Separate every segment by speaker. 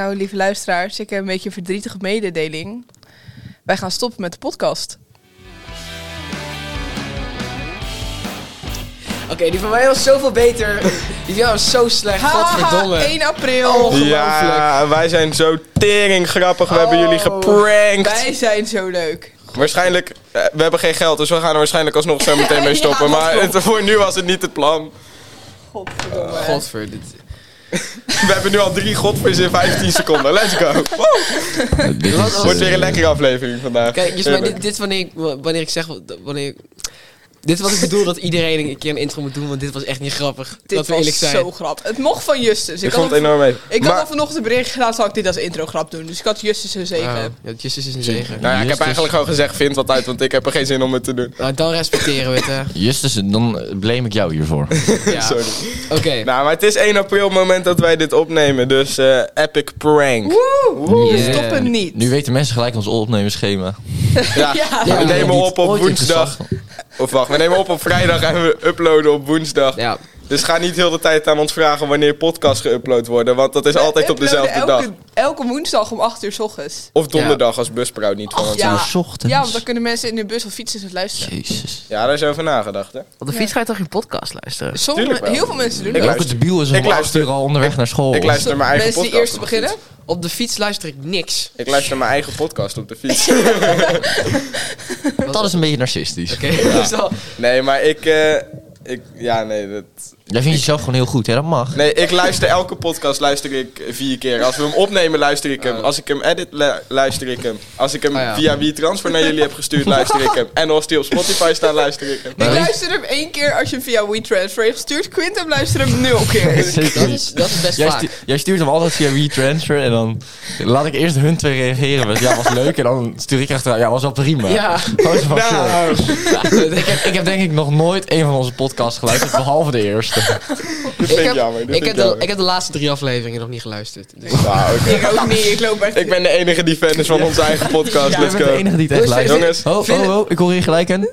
Speaker 1: Nou, lieve luisteraars, ik heb een beetje een verdrietige mededeling. Wij gaan stoppen met de podcast.
Speaker 2: Oké, die van mij was zoveel beter. Die van jou was zo slecht.
Speaker 1: Haha, 1 april.
Speaker 2: Oh.
Speaker 3: Ja,
Speaker 2: Ongelooflijk.
Speaker 3: wij zijn zo tering grappig. We hebben
Speaker 2: Oh.
Speaker 3: jullie geprankt.
Speaker 1: Wij zijn zo leuk.
Speaker 3: Waarschijnlijk, eh, we hebben geen geld, dus we gaan er waarschijnlijk alsnog zo meteen mee
Speaker 1: Ja,
Speaker 3: stoppen.
Speaker 1: dat
Speaker 3: maar het- voor nu was het niet het plan.
Speaker 1: Godverdomme.
Speaker 2: Godver, dit...
Speaker 3: We hebben nu al drie godvis in 15 seconden. Let's go. Woe.
Speaker 2: dit was,
Speaker 3: Wordt weer een lekkere aflevering vandaag.
Speaker 2: Kijk, dus maar
Speaker 3: Heerlijk.
Speaker 2: dit, dit is wanneer, ik, wanneer ik zeg... wat- Wanneer ik- dit is wat ik bedoel, dat iedereen een keer een intro moet doen, want dit was echt niet grappig.
Speaker 1: Dit
Speaker 2: dat we
Speaker 1: was
Speaker 2: eerlijk zijn.
Speaker 1: zo grappig. Het mocht van Justus.
Speaker 3: ik
Speaker 1: had
Speaker 3: vond het enorm mee.
Speaker 1: Ik had
Speaker 3: Maar-
Speaker 1: al vanochtend een bericht gedaan, zal ik dit als intro grap doen. Dus ik had Justus een
Speaker 2: Oh,
Speaker 1: zegen.
Speaker 2: ja, Justus is een zegen.
Speaker 3: Nou ja, ik heb eigenlijk gewoon gezegd, vind wat uit, want ik heb er geen zin om het te doen.
Speaker 2: Nou, dan respecteren we het, hè.
Speaker 4: Justus, dan eh, blame ik jou hiervoor.
Speaker 2: Ja.
Speaker 3: Sorry.
Speaker 2: Oké.
Speaker 3: Nou, maar het is 1 april moment dat wij dit opnemen, dus eh, epic prank.
Speaker 1: Woe!
Speaker 4: Yeah.
Speaker 1: We stoppen niet.
Speaker 4: Nu weten mensen gelijk ons opnemeschema.
Speaker 3: Ja,
Speaker 1: Ja.
Speaker 3: we
Speaker 2: Ja,
Speaker 3: nemen
Speaker 4: niet.
Speaker 3: op op
Speaker 4: Ooit
Speaker 3: woensdag. Of wacht, we nemen op op vrijdag en we uploaden op woensdag.
Speaker 2: Ja.
Speaker 3: Dus ga niet heel de tijd aan ons vragen wanneer podcasts geüpload worden, want dat is
Speaker 1: Wij
Speaker 3: altijd op
Speaker 1: uploaden
Speaker 3: dezelfde dag.
Speaker 1: elke, Elke woensdag om 8 uur s ochtends.
Speaker 3: Of donderdag als busprouw niet van ons.
Speaker 4: ja. uur 's ochtends.
Speaker 1: Ja, want dan kunnen mensen in de bus of fietsen het luisteren.
Speaker 4: Jezus.
Speaker 3: Ja, daar is over nagedacht, hè?
Speaker 5: Op de fiets ga je toch geen podcast luisteren?
Speaker 1: Sommige,
Speaker 3: Tuurlijk wel.
Speaker 1: heel veel mensen doen
Speaker 3: Ik
Speaker 1: dat.
Speaker 4: Welke
Speaker 3: luister.
Speaker 4: debiel is
Speaker 3: Ik
Speaker 4: om acht
Speaker 3: luister.
Speaker 4: uur al onderweg naar school?
Speaker 3: Ik luister naar mijn eigen
Speaker 1: mensen die
Speaker 3: podcast.
Speaker 1: eerst
Speaker 3: op de
Speaker 1: beginnen.
Speaker 3: fiets.
Speaker 2: Op de fiets luister ik niks.
Speaker 3: Ik luister naar mijn eigen podcast op de fiets.
Speaker 4: Dat is een beetje narcistisch.
Speaker 2: Oké, dus dat is al-
Speaker 3: nee, maar ik... eh, ik ja, nee, dat...
Speaker 4: Jij vindt jezelf gewoon heel goed, hè? Dat mag.
Speaker 3: Nee, ik luister elke podcast luister ik vier keer. Als we hem opnemen, luister ik hem. Als ik hem edit, lu- luister ik hem. Als ik hem
Speaker 2: Ah, Oh. ja.
Speaker 3: via WeTransfer naar jullie heb gestuurd, luister ik hem. En als die op Spotify staat, luister ik hem.
Speaker 1: Ik
Speaker 4: Maar weet-
Speaker 1: luister hem één keer als je hem via WeTransfer hebt gestuurd. Quinten luistert hem nul keer.
Speaker 2: dat, is, dat is best
Speaker 4: Jij,
Speaker 2: vaak.
Speaker 4: stu- jij stuurt hem altijd via WeTransfer en dan laat ik eerst hun twee reageren. Want ja, was leuk. En dan stuur ik achteraan. Ja, was wel prima.
Speaker 2: Ja.
Speaker 4: Oh, is wel chill.
Speaker 3: Nou,
Speaker 4: ik, heb, ik heb denk ik nog nooit een van onze podcasts geluisterd, behalve de eerste.
Speaker 3: dit
Speaker 2: Ik
Speaker 3: vind ik
Speaker 2: heb,
Speaker 3: jammer. dit
Speaker 2: ik,
Speaker 3: vind
Speaker 2: heb
Speaker 3: ik
Speaker 2: de,
Speaker 3: jammer.
Speaker 2: ik heb de laatste drie afleveringen nog niet geluisterd. Dus.
Speaker 3: Nou, oké.
Speaker 1: Ik ook niet, ik loop echt...
Speaker 3: Ik ben de enige die fan is van onze eigen podcast.
Speaker 1: Ja.
Speaker 3: Let's
Speaker 4: Ik ben de
Speaker 3: go.
Speaker 4: enige die het echt
Speaker 2: Jongens,
Speaker 4: luistert.
Speaker 3: Jongens.
Speaker 4: Oh, oh, oh, ik hoor hier gelijk een...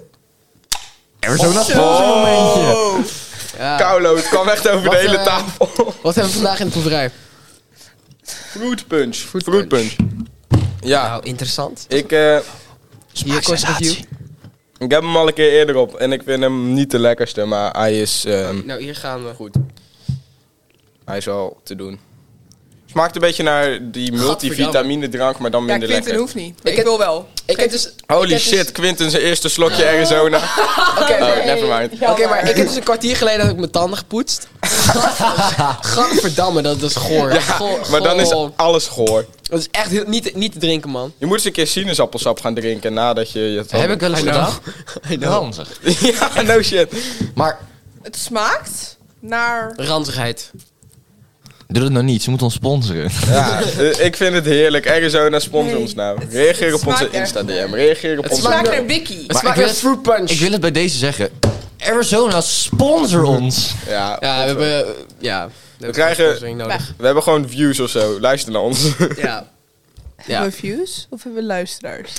Speaker 4: Arizona
Speaker 3: Oh.
Speaker 1: Zo.
Speaker 4: Falls momentje.
Speaker 2: Ja.
Speaker 3: Kaulo, het kwam echt over
Speaker 2: Wat,
Speaker 3: de hele
Speaker 2: eh,
Speaker 3: tafel.
Speaker 2: Wat hebben we vandaag in de proeverij?
Speaker 3: Fruit punch. Fruit,
Speaker 2: punch.
Speaker 3: punch. Ja,
Speaker 5: Oh,
Speaker 2: Nou, interessant.
Speaker 3: ik, eh,
Speaker 2: Hier kort review.
Speaker 3: ik heb hem al een keer eerder op. En ik vind hem niet de lekkerste, maar hij is, ehm,
Speaker 2: Nou, hier gaan we.
Speaker 3: goed. Hij is al te doen. Smaakt een beetje naar die multivitamine drank, maar dan
Speaker 1: Ja,
Speaker 3: minder
Speaker 1: Quinten
Speaker 3: lekker.
Speaker 1: hoeft niet. Ik,
Speaker 2: heb-
Speaker 1: wil wel.
Speaker 2: Ik heb dus. ik
Speaker 3: Holy
Speaker 2: heb dus-
Speaker 3: shit, Quinten zijn eerste slokje Arizona.
Speaker 2: Oké,
Speaker 3: Oh,
Speaker 2: oké.
Speaker 3: never mind.
Speaker 2: Oké, maar ik heb dus een kwartier geleden heb ik mijn tanden gepoetst. Gadverdamme, dat is goor. Goor-
Speaker 3: Maar dan is
Speaker 2: goor.
Speaker 3: alles goor.
Speaker 2: Dat is echt heel- niet, niet te drinken, man.
Speaker 3: Je moet eens een keer sinaasappelsap gaan drinken nadat je... je tanden-
Speaker 4: Heb ik wel eens
Speaker 2: I know.
Speaker 4: gedaan? Ranzig.
Speaker 3: ja, no shit.
Speaker 4: Maar
Speaker 1: Het smaakt naar...
Speaker 2: Ranzigheid.
Speaker 4: doe dat nou niet, ze moeten ons sponsoren.
Speaker 3: Ja, eh, ik vind het heerlijk. Arizona, sponsor
Speaker 1: Nee,
Speaker 3: ons nou.
Speaker 1: het-
Speaker 3: Reageer
Speaker 1: het
Speaker 3: op onze
Speaker 1: smaakt echt
Speaker 3: Insta-DM. Reageer
Speaker 2: Het
Speaker 3: op
Speaker 1: Het
Speaker 3: onze...
Speaker 1: smaakt
Speaker 2: smaakt-
Speaker 1: naar Wiki.
Speaker 2: Het smaakt
Speaker 4: ik wil
Speaker 2: naar
Speaker 4: het-
Speaker 2: fruit punch.
Speaker 4: Ik wil het bij deze zeggen. Arizona, sponsor ons.
Speaker 3: Ja,
Speaker 2: Ja, we hebben... eh, Ja. We,
Speaker 3: krijgen-
Speaker 2: nodig.
Speaker 3: we hebben gewoon views of zo. Luister naar ons.
Speaker 2: Ja. Ja.
Speaker 1: Hebben we views of hebben we luisteraars?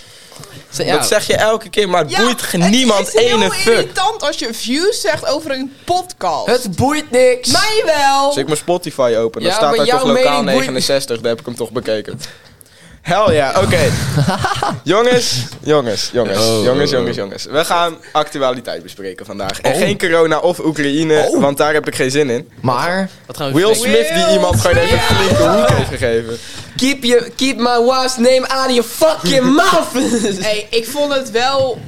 Speaker 2: Ze- ja.
Speaker 3: Dat zeg je elke keer, maar het boeit
Speaker 1: het
Speaker 3: niemand
Speaker 1: is heel
Speaker 3: ene fuck.
Speaker 1: irritant als je views zegt over een podcast.
Speaker 2: Het boeit niks.
Speaker 1: Mij wel.
Speaker 3: Als ik mijn Spotify open, dan
Speaker 2: Ja,
Speaker 3: staat
Speaker 2: maar
Speaker 3: daar toch
Speaker 2: jouw
Speaker 3: lokaal
Speaker 2: mening boeit-
Speaker 3: 69. Daar heb ik hem toch bekeken. Hel ja, oké. jongens, jongens, jongens,
Speaker 4: Oh.
Speaker 3: jongens, jongens, jongens. We gaan actualiteit bespreken vandaag.
Speaker 2: Oh.
Speaker 3: En geen corona of Oekraïne, want daar heb ik geen zin in.
Speaker 4: Maar
Speaker 2: Wat gaan we
Speaker 3: Will
Speaker 2: bespreken?
Speaker 3: Smith die
Speaker 1: Will
Speaker 3: iemand gewoon even een flinke hoek heeft gegeven.
Speaker 2: Keep, your, keep my wife's name out of your fucking mouth.
Speaker 1: Hey, ik vond het wel...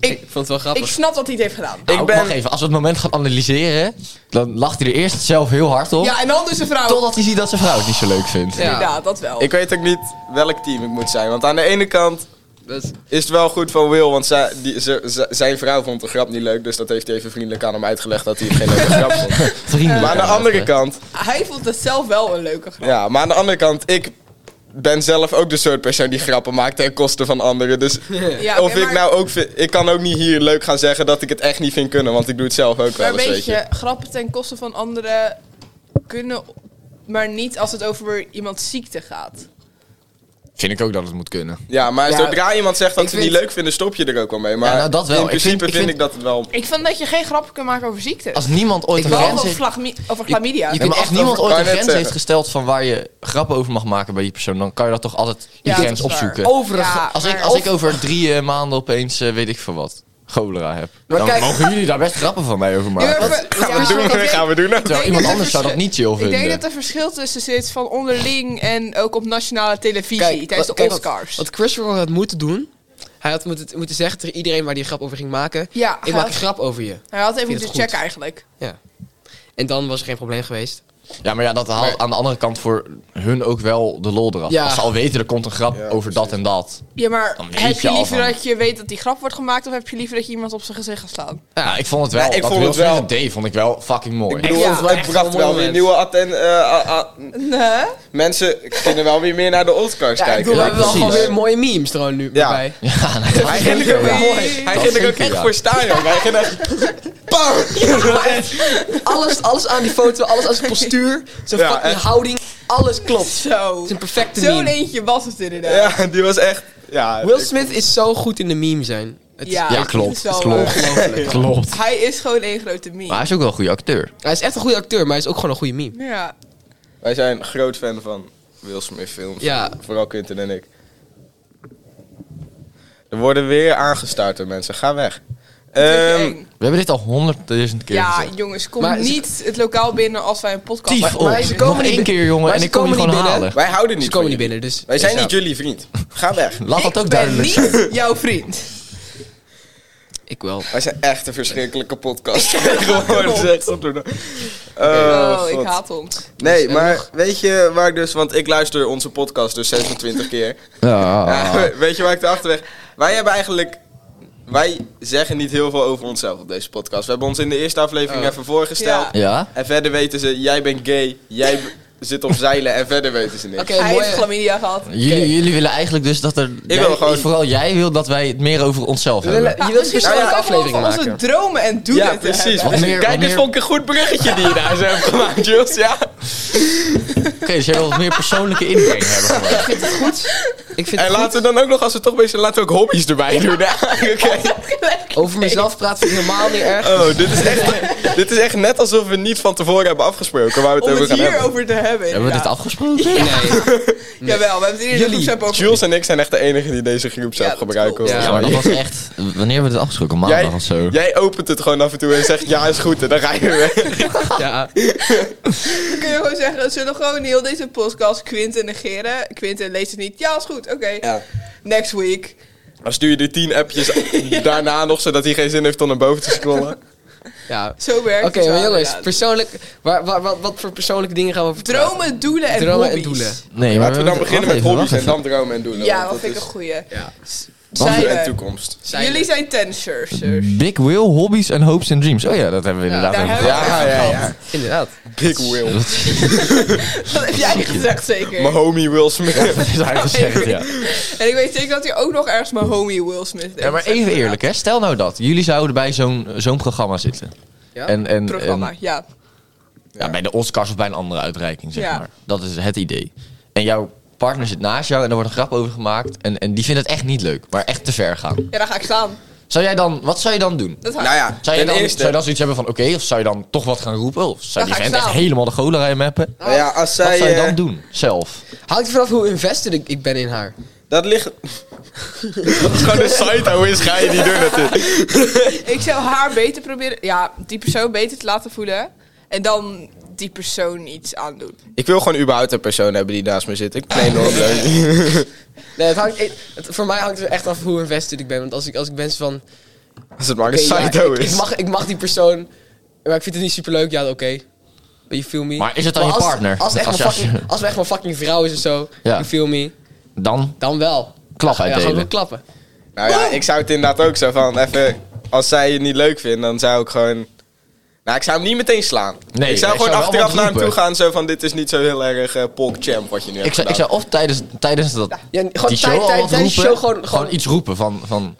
Speaker 2: Ik vond het wel
Speaker 1: Ik
Speaker 2: grappig.
Speaker 1: snap dat hij het heeft gedaan.
Speaker 3: Ik
Speaker 4: ik
Speaker 3: ben-
Speaker 4: ben... nou, even, als we het moment gaan analyseren, dan lacht hij er eerst zelf heel hard op.
Speaker 1: Ja, en dan dus een vrouw.
Speaker 4: Totdat hij ziet dat zijn vrouw het niet zo leuk vindt.
Speaker 2: Ja.
Speaker 1: Inderdaad, dat wel.
Speaker 3: Ik weet ook niet welk team ik moet zijn. Want aan de ene kant
Speaker 2: Dat is-
Speaker 3: is het wel goed van Will, want zij- die, ze- ze- zijn vrouw vond de grap niet leuk. Dus dat heeft hij even vriendelijk aan hem uitgelegd dat hij het geen leuke grap vond.
Speaker 4: Vriendelijk.
Speaker 3: Maar aan de andere kant,
Speaker 1: Hij vond het zelf wel een leuke grap.
Speaker 3: ja, maar aan de andere kant, ik ben zelf ook de soort persoon die grappen maakt ten koste van anderen. Dus
Speaker 1: Ja, oké,
Speaker 3: of ik
Speaker 1: maar-
Speaker 3: nou ook vind, ik kan ook niet hier leuk gaan zeggen dat ik het echt niet vind kunnen, want ik doe het zelf ook wel
Speaker 1: Maar
Speaker 3: eens,
Speaker 1: weet
Speaker 3: weet je.
Speaker 1: je, grappen ten koste van anderen kunnen, maar niet als het over iemand ziekte gaat.
Speaker 4: Vind ik ook dat het moet kunnen.
Speaker 3: Ja, maar
Speaker 2: Ja,
Speaker 3: zodra iemand zegt dat
Speaker 2: ik
Speaker 3: ze het niet
Speaker 2: vind-
Speaker 3: leuk vinden, stop je er ook wel mee. Maar
Speaker 4: Ja, nou, dat wel.
Speaker 3: in
Speaker 4: Ik
Speaker 3: principe
Speaker 4: vind-
Speaker 3: vind,
Speaker 4: ik
Speaker 3: ik,
Speaker 4: vind-
Speaker 3: dat het wel...
Speaker 1: Ik vind dat je geen grappen kunt maken over ziektes.
Speaker 4: Als niemand ooit
Speaker 2: Ik
Speaker 4: een
Speaker 2: wou
Speaker 4: grens
Speaker 1: Behalve
Speaker 4: heeft...
Speaker 1: vlagmi- over chlamydia.
Speaker 4: Je
Speaker 1: Je,
Speaker 4: kunt,
Speaker 3: maar
Speaker 4: als
Speaker 3: wacht,
Speaker 4: niemand
Speaker 3: dat
Speaker 4: ooit
Speaker 3: kan
Speaker 4: een
Speaker 3: je net
Speaker 4: grens
Speaker 3: zeggen.
Speaker 4: heeft gesteld van waar je grappen over mag maken bij die persoon, dan kan je dat toch altijd die
Speaker 1: Ja,
Speaker 4: grens
Speaker 1: dat is waar.
Speaker 4: opzoeken.
Speaker 2: Overig.
Speaker 1: Ja.
Speaker 4: Als, ik,
Speaker 1: maar-
Speaker 4: als ik
Speaker 1: of-
Speaker 4: over drie eh, maanden opeens, eh, weet ik veel wat, cholera heb,
Speaker 2: Maar
Speaker 4: dan
Speaker 2: kijk-
Speaker 4: mogen jullie daar best grappen van mij over maken.
Speaker 1: maar-
Speaker 3: Gaan
Speaker 1: ja,
Speaker 3: we doen,
Speaker 1: ik denk-
Speaker 3: gaan we doen.
Speaker 4: Terwijl
Speaker 1: Ik denk
Speaker 4: iemand
Speaker 1: dat
Speaker 4: anders zou dat
Speaker 1: verschil-
Speaker 4: niet chill
Speaker 1: Ik denk
Speaker 4: vinden.
Speaker 1: dat er verschil tussen zit van onderling en ook op nationale televisie tijdens
Speaker 2: wat-
Speaker 1: de
Speaker 2: kijk,
Speaker 1: Oscars.
Speaker 2: Wat, wat Chris Rock had moeten doen, hij had moeten, moeten zeggen tegen iedereen waar hij een grap over ging maken.
Speaker 1: ja,
Speaker 2: Ik
Speaker 1: hij
Speaker 2: maak een
Speaker 1: had,
Speaker 2: grap over je.
Speaker 1: hij had even
Speaker 2: vind het
Speaker 1: moeten
Speaker 2: goed.
Speaker 1: checken eigenlijk.
Speaker 2: En dan was er geen probleem geweest.
Speaker 4: Ja, maar ja, dat haalt
Speaker 2: Maar-
Speaker 4: aan de andere kant voor hun ook wel de lol eraf.
Speaker 2: Ja.
Speaker 4: Als ze al weten, er komt een grap
Speaker 3: Ja,
Speaker 4: over dat en dat.
Speaker 1: Ja, maar
Speaker 4: Dan weet
Speaker 1: heb
Speaker 4: je
Speaker 1: je
Speaker 4: al
Speaker 1: liever
Speaker 4: van-
Speaker 1: dat je weet dat die grap wordt gemaakt of heb je liever dat je iemand op zijn gezicht gaat slaan?
Speaker 4: Ja, Nou, ik vond het wel,
Speaker 3: Ja, ik
Speaker 4: dat
Speaker 3: vond het
Speaker 4: Wilfried
Speaker 3: wel-
Speaker 4: en Dave vond ik wel fucking mooi.
Speaker 3: Ik bedoel,
Speaker 1: Ja.
Speaker 3: het-
Speaker 2: Echt
Speaker 3: het bracht
Speaker 2: een
Speaker 3: wel weer
Speaker 2: moment.
Speaker 3: nieuwe atten... eh, a- a-
Speaker 1: Nee?
Speaker 3: mensen kunnen wel weer meer naar de Oscars
Speaker 2: Ja, ik
Speaker 3: kijken.
Speaker 2: bedoel, we hebben wel
Speaker 4: precies.
Speaker 2: gewoon weer mooie memes trouwens nu
Speaker 3: Ja.
Speaker 2: bij.
Speaker 4: Ja, nee, dat
Speaker 3: Hij
Speaker 4: vind
Speaker 3: ging
Speaker 4: ik
Speaker 3: er ook,
Speaker 4: wel.
Speaker 3: mooi. Hij ging er ook
Speaker 4: zeker,
Speaker 3: echt
Speaker 4: ja.
Speaker 3: voor staan, joh. Hij ging echt... Bam!
Speaker 2: Alles, alles aan die foto, alles aan zijn postuur, zijn
Speaker 3: Ja,
Speaker 2: fucking
Speaker 3: echt.
Speaker 2: houding, alles klopt.
Speaker 1: Zo.
Speaker 2: Het is een perfecte
Speaker 1: Zo'n
Speaker 2: meme.
Speaker 1: eentje was het inderdaad.
Speaker 3: Ja, die was echt... Ja,
Speaker 2: Will
Speaker 3: ik-
Speaker 2: Smith is zo goed in de meme zijn. Het is
Speaker 4: Ja,
Speaker 1: dat
Speaker 4: klopt,
Speaker 1: is wel
Speaker 4: klopt.
Speaker 1: waar.
Speaker 2: ongelooflijk.
Speaker 4: Klopt.
Speaker 1: Hij is gewoon één grote meme.
Speaker 4: Maar hij is ook wel een goede acteur.
Speaker 2: Hij is echt een goede acteur, maar hij is ook gewoon een goede meme.
Speaker 1: Ja.
Speaker 3: Wij zijn groot fan van Will Smith films.
Speaker 2: Ja.
Speaker 3: Vooral Quinten en ik. Er worden weer aangestaard door mensen. Ga weg.
Speaker 1: Natuurlijk
Speaker 3: Ehm,
Speaker 1: eng.
Speaker 4: We hebben dit al honderdduizend keer
Speaker 1: ja,
Speaker 4: gezegd.
Speaker 1: jongens, kom
Speaker 2: Maar ze-
Speaker 1: niet het lokaal binnen als wij een podcast
Speaker 4: Tief op.
Speaker 1: opnemen.
Speaker 2: maar ze komen
Speaker 4: Nog
Speaker 2: niet
Speaker 4: één
Speaker 2: bin-
Speaker 4: keer, jongen,
Speaker 2: maar
Speaker 4: en
Speaker 2: ze
Speaker 4: ik kom je
Speaker 2: komen
Speaker 4: gewoon
Speaker 2: niet binnen.
Speaker 4: halen.
Speaker 3: wij houden niet
Speaker 2: Ze komen
Speaker 3: van
Speaker 2: niet
Speaker 3: jullie.
Speaker 2: binnen, dus...
Speaker 3: Wij zijn
Speaker 2: Ja.
Speaker 3: niet jullie vriend. Ga weg.
Speaker 4: Laat dat
Speaker 1: ik ben
Speaker 4: ook duidelijk zijn.
Speaker 1: niet jouw vriend.
Speaker 2: Ik wel.
Speaker 3: Wij zijn echt een verschrikkelijke podcast. Gewoon zeg.
Speaker 1: Oh,
Speaker 3: Oh,
Speaker 1: ik
Speaker 3: God.
Speaker 1: haat ons.
Speaker 3: Nee, maar weet je waar ik dus... Want ik luister onze podcast dus 26 keer. Ja, weet je waar ik de achterweg... Wij hebben eigenlijk... Wij zeggen niet heel veel over onszelf op deze podcast. We hebben ons in de eerste aflevering
Speaker 2: Oh.
Speaker 3: even voorgesteld.
Speaker 1: Ja.
Speaker 4: Ja?
Speaker 3: En verder weten ze, jij bent gay, jij b- zit op zeilen en verder weten ze niks.
Speaker 2: Oké,
Speaker 1: hij heeft
Speaker 2: mooie...
Speaker 1: chlamydia gehad.
Speaker 4: Jullie, jullie willen eigenlijk dus dat er... jij-
Speaker 3: wil gewoon-
Speaker 4: Vooral jij wil dat wij het meer over onszelf
Speaker 2: We willen-
Speaker 4: hebben.
Speaker 2: Je wilt een
Speaker 1: misschien
Speaker 2: persoonlijke
Speaker 1: kunnen we ook
Speaker 2: aflevering
Speaker 1: wel over
Speaker 2: maken.
Speaker 1: onze dromen en doelen
Speaker 3: Ja,
Speaker 1: te
Speaker 3: precies.
Speaker 1: hebben.
Speaker 4: Wat meer-
Speaker 3: Kijk,
Speaker 4: wat
Speaker 3: dit
Speaker 4: meer-
Speaker 3: vond ik een goed bruggetje die je daar zo hebt gemaakt, Jules. Ja.
Speaker 4: Oké, dus jij wil wat meer persoonlijke inbreng hebben. gewoon.
Speaker 2: Ik vind
Speaker 3: En
Speaker 2: het goed.
Speaker 3: laten we dan ook nog, als we toch bezig zijn, laten we ook hobby's erbij doen. hè. Oké.
Speaker 2: Over mezelf praat vind ik helemaal niet erg.
Speaker 3: Oh, dit is, echt, dit is echt net alsof we niet van tevoren hebben afgesproken waar we het
Speaker 1: Om
Speaker 3: over
Speaker 1: het
Speaker 3: gaan hebben.
Speaker 1: hierover te hebben.
Speaker 4: Hebben we dit
Speaker 1: inderdaad.
Speaker 4: afgesproken?
Speaker 2: Nee.
Speaker 1: Jawel, we hebben het hier in de
Speaker 2: Jullie,
Speaker 1: groepsapp over.
Speaker 3: Jules en ik zijn echt de enigen die deze groepsapp
Speaker 1: Ja, dat
Speaker 3: gebruiken.
Speaker 1: klopt.
Speaker 2: Ja,
Speaker 4: Ja, maar dat was echt... Wanneer hebben we dit afgesproken? Maandag
Speaker 3: Jij,
Speaker 4: of zo?
Speaker 3: jij opent het gewoon af en toe en zegt ja is goed en dan ga je weer.
Speaker 2: Ja.
Speaker 1: Dan kun je gewoon zeggen, zullen we gewoon heel deze podcast Quinten negeren? Quinten leest het niet. Ja, is goed, oké. Next week.
Speaker 3: Dan stuur je die tien appjes daarna nog zodat hij geen zin heeft om naar boven te scrollen.
Speaker 2: ja.
Speaker 1: Zo werkt
Speaker 2: Oké,
Speaker 1: het wel,
Speaker 2: maar jongens,
Speaker 1: inderdaad.
Speaker 2: persoonlijk... Waar, waar, wat, wat voor persoonlijke dingen gaan we over praten?
Speaker 1: Dromen, doelen en
Speaker 2: Dromen en
Speaker 1: hobby's.
Speaker 2: doelen.
Speaker 4: Nee, maar
Speaker 3: Laten we dan beginnen
Speaker 4: wacht
Speaker 3: met
Speaker 4: even,
Speaker 3: hobby's
Speaker 4: wacht
Speaker 3: en dan dromen en doelen.
Speaker 1: Ja,
Speaker 3: want
Speaker 1: dat vind ik
Speaker 3: is
Speaker 1: een goeie.
Speaker 2: Ja.
Speaker 3: doelen
Speaker 1: Zeilen.
Speaker 3: en toekomst.
Speaker 2: Zeilen.
Speaker 1: Jullie zijn tensers.
Speaker 4: even. Big Will, hobby's en hopes and dreams. Oh ja, dat hebben we
Speaker 2: Ja,
Speaker 4: inderdaad
Speaker 1: daar
Speaker 4: over
Speaker 1: hebben we-
Speaker 3: Ja, ja,
Speaker 4: gehad.
Speaker 3: ja.
Speaker 2: Inderdaad.
Speaker 3: Big Will.
Speaker 1: Dat heb jij gezegd zeker.
Speaker 3: Mijn homie Will Smith.
Speaker 4: Dat is eigenlijk gezegd, ja.
Speaker 1: En ik weet zeker dat hij ook nog ergens mijn homie Will Smith heeft.
Speaker 4: Ja, maar even eerlijk, hè. Stel nou dat. Jullie zouden bij zo'n zo'n programma zitten.
Speaker 2: Ja?
Speaker 4: En, en,
Speaker 1: Programma,
Speaker 4: en-
Speaker 1: eh, ja.
Speaker 4: ja, bij de Oscars of bij een andere uitreiking, zeg
Speaker 1: Ja.
Speaker 4: maar. Dat is het idee. En jouw partner zit naast jou en er wordt een grap over gemaakt. En, en die vindt het echt niet leuk, maar echt te ver gaan.
Speaker 1: Ja, daar ga ik staan.
Speaker 4: Zou jij dan, wat zou je dan doen?
Speaker 1: Dat ga ik.
Speaker 3: Nou ja, ten
Speaker 4: Zou je, dan, zou je
Speaker 3: eerste.
Speaker 4: dan zoiets hebben van, oké, of zou je dan toch wat gaan roepen? Of zou
Speaker 1: Dan
Speaker 4: die
Speaker 1: ga ik
Speaker 4: vent echt
Speaker 1: staan.
Speaker 4: helemaal de cholera in mappen?
Speaker 3: Nou ja, als
Speaker 4: Wat
Speaker 3: zij...
Speaker 4: zou je
Speaker 3: eh,
Speaker 4: dan doen, zelf?
Speaker 2: Hangt er vanaf hoe invested ik, ik ben in haar.
Speaker 3: Dat ligt... dat is gewoon een site, hoe is ga je die doen natuurlijk.
Speaker 1: Ik zou haar beter proberen, ja, die persoon beter te laten voelen. En dan die persoon iets aandoen.
Speaker 3: Ik wil gewoon überhaupt een persoon hebben die naast me zit. Ik neem nooit leuk.
Speaker 2: Nee, het hangt, het- voor mij hangt het echt af hoe invested ik ben. Want als ik, als ik mensen van...
Speaker 3: Als het maar een
Speaker 2: oké, ja,
Speaker 3: site
Speaker 2: ik, ik,
Speaker 3: is.
Speaker 2: mag, ik mag die persoon, maar ik vind het niet superleuk. Ja, oké. But you feel me.
Speaker 4: Maar is het dan je
Speaker 2: als-
Speaker 4: partner?
Speaker 2: Als het echt,
Speaker 4: Als
Speaker 2: mijn
Speaker 4: je-
Speaker 2: fucking, als het echt mijn fucking vrouw is of zo,
Speaker 4: Ja.
Speaker 2: you feel me,
Speaker 4: Dan
Speaker 2: dan wel.
Speaker 4: klap
Speaker 2: Ja, gaan we wel
Speaker 4: uitdelen.
Speaker 2: klappen.
Speaker 3: Nou ja, ik zou het inderdaad ook zo van even. Als zij je niet leuk vindt, dan zou ik gewoon. Nou, ik zou hem niet meteen slaan.
Speaker 4: Nee,
Speaker 3: ik zou
Speaker 4: ik zou
Speaker 3: gewoon
Speaker 4: wel
Speaker 3: achteraf
Speaker 4: wat
Speaker 3: naar hem toe
Speaker 4: roepen.
Speaker 3: gaan. Zo van: Dit is niet zo heel erg eh Polk Champ wat je nu
Speaker 4: Ik
Speaker 3: hebt.
Speaker 4: zou, ik
Speaker 3: gedaan.
Speaker 4: zou of tijdens, tijdens dat,
Speaker 2: Ja, gewoon
Speaker 4: die
Speaker 2: tijd-
Speaker 4: show al
Speaker 2: tijd-
Speaker 4: wat
Speaker 2: tijdens de
Speaker 4: roepen,
Speaker 2: show gewoon- gewoon-
Speaker 4: iets roepen van, van...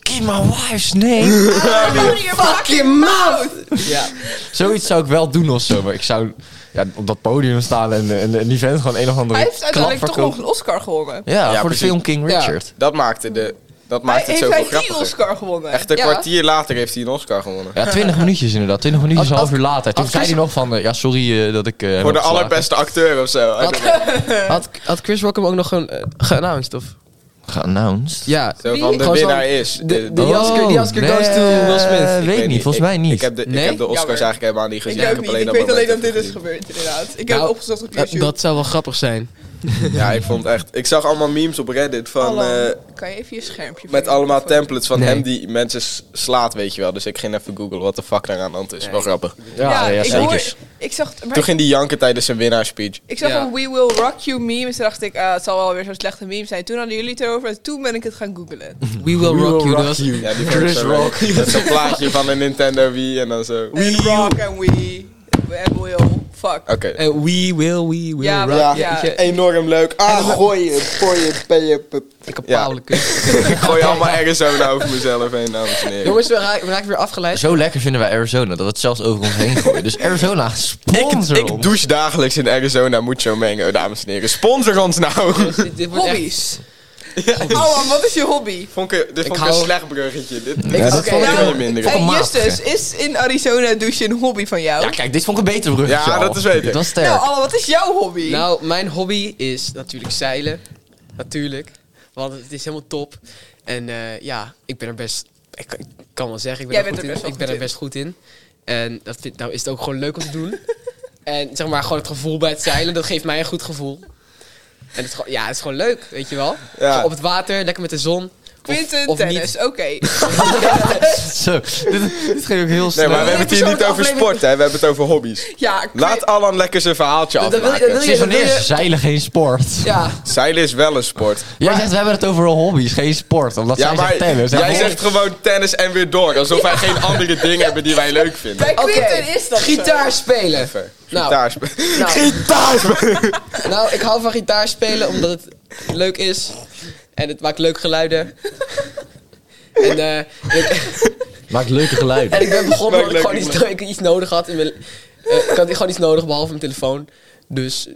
Speaker 4: Give my wife's name.
Speaker 1: Hou je fucking mouth!
Speaker 2: Ja.
Speaker 4: Zoiets zou ik wel doen of zo, maar ik zou... ja, op dat podium staan en, eh, en, en die vent gewoon een of andere
Speaker 1: Hij heeft uiteindelijk
Speaker 4: klap
Speaker 1: toch nog
Speaker 4: verkoopt.
Speaker 1: een Oscar gewonnen.
Speaker 4: Ja,
Speaker 3: Ja,
Speaker 4: voor
Speaker 3: precies.
Speaker 4: de film King
Speaker 2: Ja.
Speaker 4: Richard.
Speaker 3: Dat maakte, de, dat
Speaker 1: Hij
Speaker 3: maakte het
Speaker 1: heeft
Speaker 3: zoveel
Speaker 1: hij drie
Speaker 3: grappiger.
Speaker 1: Oscar gewonnen.
Speaker 3: Echt een
Speaker 1: Ja.
Speaker 3: kwartier later heeft hij een Oscar gewonnen.
Speaker 4: Ja, 20 minuutjes inderdaad. 20 minuutjes,
Speaker 2: Ad-
Speaker 4: een half
Speaker 2: ad-
Speaker 4: uur later. Toen
Speaker 2: ad-
Speaker 4: zei hij nog van, eh, ja sorry eh, dat ik... eh, hem
Speaker 3: Voor de
Speaker 4: heb geslagen.
Speaker 3: allerbeste acteur of zo.
Speaker 2: Had, had Chris Rock hem ook nog gewoon eh, geannounced, of?
Speaker 4: Geannounced? Oh,
Speaker 2: Ja.
Speaker 3: Zo van de
Speaker 2: Gewoon zo-
Speaker 3: winnaar is.
Speaker 2: de- de- Die Oscar- die Oscar goes to
Speaker 4: nee,
Speaker 2: Will Smith.
Speaker 4: eh,
Speaker 2: Ik
Speaker 4: Weet niet, volgens
Speaker 3: Ik-
Speaker 4: mij niet.
Speaker 3: Ik heb de,
Speaker 2: Nee?
Speaker 3: ik heb de Oscars
Speaker 1: Jammer.
Speaker 3: eigenlijk helemaal niet gezien.
Speaker 1: Ik ook niet. Ik
Speaker 3: heb
Speaker 1: weet alleen dat
Speaker 3: dat
Speaker 1: dit
Speaker 3: moment
Speaker 1: is
Speaker 3: even
Speaker 1: gebeurd, inderdaad. Ik heb
Speaker 2: Nou,
Speaker 1: het opgezocht op
Speaker 2: dat,
Speaker 1: YouTube.
Speaker 2: dat zou wel grappig zijn.
Speaker 3: gezien. Ja, ik vond echt... Ik zag allemaal memes op Reddit van...
Speaker 1: Alan,
Speaker 3: eh,
Speaker 1: kan je even je schermpje...
Speaker 3: met allemaal templates van
Speaker 4: Nee.
Speaker 3: hem die mensen s- slaat, weet je wel. Dus ik ging even googlen wat de fuck daar aan de hand is. Wel grappig.
Speaker 1: Ja, ik,
Speaker 4: zeker.
Speaker 1: hoor, ik zag... maar
Speaker 3: Toen ging die janken tijdens zijn winnaarspeech.
Speaker 1: Ik zag
Speaker 2: Ja.
Speaker 1: een We Will Rock You meme en toen dacht ik, ah, het zal wel weer zo'n slechte meme zijn. Toen hadden jullie het erover en toen ben ik het gaan googlen.
Speaker 2: We will rock you. dus. dat was-
Speaker 3: Ja, die vond ik zo leuk. Met zo'n plaatje van een Nintendo Wii en dan zo. Oké.
Speaker 1: We rock and we... And will... Fuck.
Speaker 2: Eh, we will, we will
Speaker 1: Ja,
Speaker 2: rock
Speaker 1: ja.
Speaker 2: you. Weet je,
Speaker 3: Enorm leuk. Ah, gooien, gooien, peien, pe-
Speaker 2: Ik heb
Speaker 3: Ja.
Speaker 2: pauwelijk kus.
Speaker 3: Ik gooi allemaal Arizona over mezelf heen, dames en heren.
Speaker 2: Jongens, we raak- we raken weer afgeleid.
Speaker 4: Zo lekker vinden wij Arizona, dat we het zelfs over ons heen gooien. Dus Arizona, sponsor
Speaker 3: Ik
Speaker 4: ons.
Speaker 3: douche dagelijks in Arizona Mucho Mango, dames en heren. Sponsor ons nou!
Speaker 2: Dit, dit wordt echt-
Speaker 1: Hobby's. Alan, wat is je hobby?
Speaker 3: Vond ik, dit vond ik,
Speaker 2: hou-
Speaker 3: een slecht bruggetje. Dit, dit
Speaker 4: Ja,
Speaker 3: is
Speaker 4: dat
Speaker 1: Oké,
Speaker 4: vond ik
Speaker 1: nou,
Speaker 4: wel
Speaker 3: je minder.
Speaker 1: hey,
Speaker 4: Kom maar.
Speaker 1: Justus, is in Arizona douchen een hobby van jou?
Speaker 4: Ja, kijk, dit vond ik een beter bruggetje
Speaker 3: Ja,
Speaker 4: al.
Speaker 3: dat is beter.
Speaker 4: Dit was sterk.
Speaker 1: nou, Alan, wat is jouw hobby?
Speaker 2: Nou, mijn hobby is natuurlijk zeilen. Natuurlijk. Want het is helemaal top. En eh, ja, ik ben er best... Ik, ik kan wel zeggen, ik ben,
Speaker 1: Jij
Speaker 2: er,
Speaker 1: bent
Speaker 2: goed
Speaker 1: er best wel
Speaker 2: in. Ik ben
Speaker 1: goed
Speaker 2: er best goed in. En dat vind, nou is het ook gewoon leuk om te doen. en zeg maar, gewoon het gevoel bij het zeilen, dat geeft mij een goed gevoel. En het is gewoon, ja, het is gewoon leuk, weet je wel.
Speaker 3: Ja.
Speaker 2: Gewoon Op het water, lekker met de zon.
Speaker 1: Quinten,
Speaker 2: of, of
Speaker 1: tennis,
Speaker 2: Niet.
Speaker 1: oké.
Speaker 4: Zo, dit, dit ging ook heel snel.
Speaker 3: Nee, maar we hebben het hier niet over sport, hè. We hebben het over hobby's.
Speaker 1: ja,
Speaker 3: Laat Alan lekker zijn verhaaltje
Speaker 2: Dat- dat wil je- dat wil
Speaker 3: afmaken.
Speaker 4: Het is
Speaker 2: dan
Speaker 4: van
Speaker 2: wil je-
Speaker 4: eerst zeilen geen sport.
Speaker 2: Ja,
Speaker 3: Zeilen is wel een sport.
Speaker 4: Jij zegt, we hebben het over hobby's, geen sport. Omdat
Speaker 3: Ja,
Speaker 4: zij
Speaker 3: maar
Speaker 4: zegt tennis. Ja,
Speaker 3: jij
Speaker 4: hobby.
Speaker 3: zegt gewoon tennis en weer door. Alsof wij geen andere dingen hebben die wij leuk vinden.
Speaker 1: bij Quinten
Speaker 2: Oké,
Speaker 1: is dat zo.
Speaker 2: gitaar spelen.
Speaker 3: Ver.
Speaker 2: Nou.
Speaker 3: Gitaar spe-
Speaker 2: Nou,
Speaker 3: Gitaar spe-
Speaker 2: nou, ik hou van gitaar spelen omdat het leuk is. En het maakt leuke geluiden. En eh, ik,
Speaker 4: Maakt leuke geluiden.
Speaker 2: en ik ben begonnen omdat ik
Speaker 3: Maakt
Speaker 2: gewoon iets,
Speaker 3: leuke
Speaker 2: ik iets nodig had. In mijn, eh, ik had gewoon iets nodig behalve mijn telefoon. Dus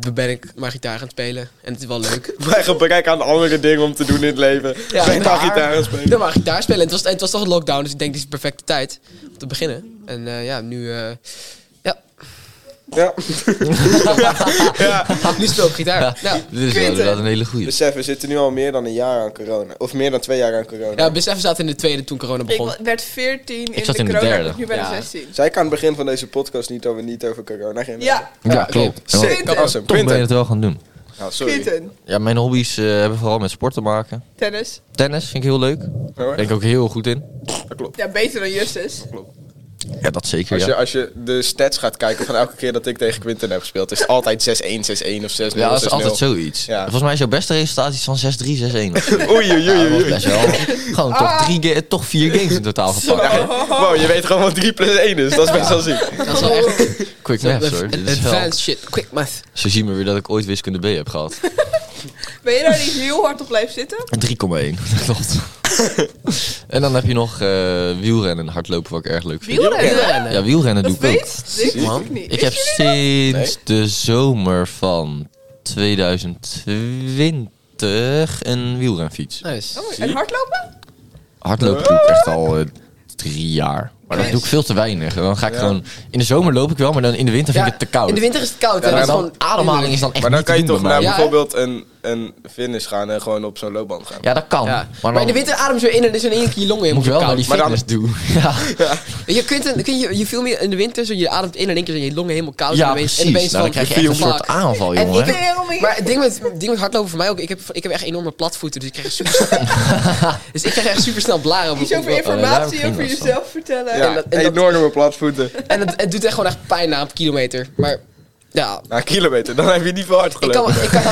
Speaker 2: toen ben ik maar gitaar gaan spelen. En het is wel leuk.
Speaker 3: Bij gebrek aan andere dingen om te doen in het leven.
Speaker 2: Ja,
Speaker 3: ben ik
Speaker 2: maar-
Speaker 3: maar gitaar gaan spelen.
Speaker 2: Dan maar gitaar spelen. En het was, het was toch een lockdown, dus ik denk dit is de perfecte tijd om te beginnen. En eh, ja, nu, eh,
Speaker 3: Ja. ja.
Speaker 2: nu speel ik gitaar. Nou,
Speaker 4: Dit is wel
Speaker 1: Quinten.
Speaker 4: inderdaad een hele goede.
Speaker 3: Besef, we zitten nu al meer dan een jaar aan corona. Of meer dan twee jaar aan corona.
Speaker 2: ja, besef, we zaten in de tweede toen corona
Speaker 1: Ik
Speaker 2: begon.
Speaker 1: wa- werd 14 in
Speaker 4: zat
Speaker 1: de
Speaker 4: in de
Speaker 1: corona,
Speaker 4: derde.
Speaker 1: nu ben ik
Speaker 2: Ja.
Speaker 1: 16.
Speaker 3: Zij kan aan het begin van deze podcast niet dat we niet over corona gingen.
Speaker 1: Ja,
Speaker 4: Ja,
Speaker 2: oké.
Speaker 4: klopt. En
Speaker 1: Zeker.
Speaker 4: dan-
Speaker 3: Dat was hem.
Speaker 4: Toch ben je
Speaker 3: Quinten.
Speaker 4: het wel gaan doen.
Speaker 3: Ja, sorry.
Speaker 1: Quinten,
Speaker 4: Ja, mijn hobby's eh, hebben vooral met sport te maken.
Speaker 1: tennis.
Speaker 4: Tennis vind ik heel leuk.
Speaker 3: Hoor.
Speaker 4: Ben ik ook heel goed in.
Speaker 3: Dat klopt.
Speaker 1: Ja, beter dan Justus.
Speaker 4: Ja, dat zeker,
Speaker 3: Als
Speaker 4: ja.
Speaker 3: je, als je de stats gaat kijken van elke keer dat ik tegen Quinten heb gespeeld, is het altijd 6-1, 6-1 of 6-0.
Speaker 4: Ja, dat is
Speaker 3: 6-0.
Speaker 4: altijd zoiets.
Speaker 3: Ja.
Speaker 4: Volgens mij is jouw beste resultaat iets van 6-3, 6-1.
Speaker 3: Oei, oei,
Speaker 4: Ja,
Speaker 3: oei,
Speaker 4: dat was
Speaker 3: oei.
Speaker 4: best wel. Gewoon toch, drie ga- toch vier games in totaal gepakt.
Speaker 3: Ah. Ja, wow, je weet gewoon wat 3 plus 1 is. Dat is best wel ziek.
Speaker 2: Dat is wel echt
Speaker 4: Quick maps hoor. Dit is wel.
Speaker 2: advanced shit. Quick math.
Speaker 4: Zo zien we weer dat ik ooit wiskunde B heb gehad. 3,1.
Speaker 1: Ben je daar niet heel hard op blijven zitten?
Speaker 4: Dat klopt. en dan heb je nog eh, wielrennen en hardlopen wat ik erg leuk vind.
Speaker 1: Wielrennen?
Speaker 4: Ja, wielrennen
Speaker 1: Dat
Speaker 4: doe ik ook.
Speaker 1: weet ik
Speaker 4: Man,
Speaker 1: niet.
Speaker 4: ik heb sinds de zomer van 2020 een wielrenfiets.
Speaker 2: Nice.
Speaker 1: Oh, en hardlopen?
Speaker 4: Hardlopen doe ik echt al eh, drie jaar. Maar dat doe ik veel te weinig. En Dan ga ik
Speaker 3: Ja.
Speaker 4: gewoon... In de zomer loop ik wel, maar dan in de winter vind ik het te koud.
Speaker 2: In de winter is het koud.
Speaker 4: Ja,
Speaker 2: en
Speaker 4: maar
Speaker 2: dat is
Speaker 4: dan,
Speaker 2: gewoon
Speaker 4: ademhaling is dan echt
Speaker 3: Maar dan
Speaker 4: niet
Speaker 3: kan je
Speaker 4: te doen
Speaker 3: toch
Speaker 4: bij
Speaker 3: naar
Speaker 4: mij.
Speaker 2: Ja, hè?
Speaker 3: bijvoorbeeld een, een finish gaan en gewoon op zo'n loopband gaan.
Speaker 4: Ja, dat kan.
Speaker 2: Ja.
Speaker 4: Maar,
Speaker 2: Maar,
Speaker 4: dan
Speaker 2: in de winter adem je in en is in één keer je longen
Speaker 4: moet je
Speaker 2: helemaal
Speaker 4: wel naar
Speaker 2: koud.
Speaker 4: die
Speaker 3: Maar dan-
Speaker 4: fitness doen. Ja,
Speaker 2: Je, kunt een, kun je, je viel meer in de winter, zo je ademt in en in één keer zijn je longen helemaal koud. en
Speaker 4: ja
Speaker 2: dan ben je- En
Speaker 4: precies.
Speaker 2: dan ben
Speaker 4: Nou,
Speaker 2: je van,
Speaker 4: dan krijg je echt een soort
Speaker 2: fuck.
Speaker 4: aanval,
Speaker 2: En
Speaker 4: jongen.
Speaker 2: ik-
Speaker 4: hè.
Speaker 2: Maar het ding, met, het ding met hardlopen voor mij ook, ik heb, ik heb echt enorme platvoeten, dus ik krijg super Dus ik krijg echt super snel blaren op
Speaker 1: Iets over informatie
Speaker 4: prima,
Speaker 1: over
Speaker 4: Sam.
Speaker 1: jezelf vertellen.
Speaker 3: Ja,
Speaker 2: en dat- en dat-
Speaker 3: enorme platvoeten.
Speaker 2: En het, het doet echt gewoon echt pijn na een kilometer. Maar ja,
Speaker 3: Na een kilometer, dan heb je niet veel hard
Speaker 2: ik
Speaker 3: gelopen.
Speaker 2: kan, ik kan,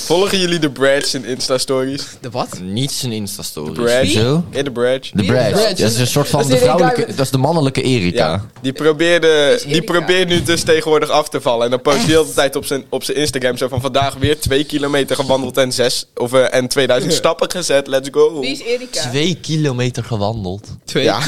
Speaker 3: Volgen jullie de Brads in Insta-stories?
Speaker 2: De wat?
Speaker 4: Niet zijn Insta-story.
Speaker 3: De Brad.
Speaker 4: Zo?
Speaker 3: In de Brad.
Speaker 4: De
Speaker 2: Wie is
Speaker 4: Brad.
Speaker 2: dat?
Speaker 4: Dat is een soort
Speaker 2: Dat
Speaker 4: van
Speaker 2: is
Speaker 4: de
Speaker 2: die
Speaker 4: vrouwelijke...
Speaker 2: guy
Speaker 4: Dat is de mannelijke Erika.
Speaker 3: Ja, die probeerde, die
Speaker 1: Erika.
Speaker 3: probeert nu dus tegenwoordig af te vallen. En dan post hij de hele tijd op zijn, op zijn Instagram zo van... Vandaag weer twee kilometer gewandeld en, zes, of, eh, en 2000 stappen gezet. Let's go.
Speaker 1: Wie is Erika?
Speaker 4: Twee kilometer gewandeld.
Speaker 2: Twee.
Speaker 3: Ja.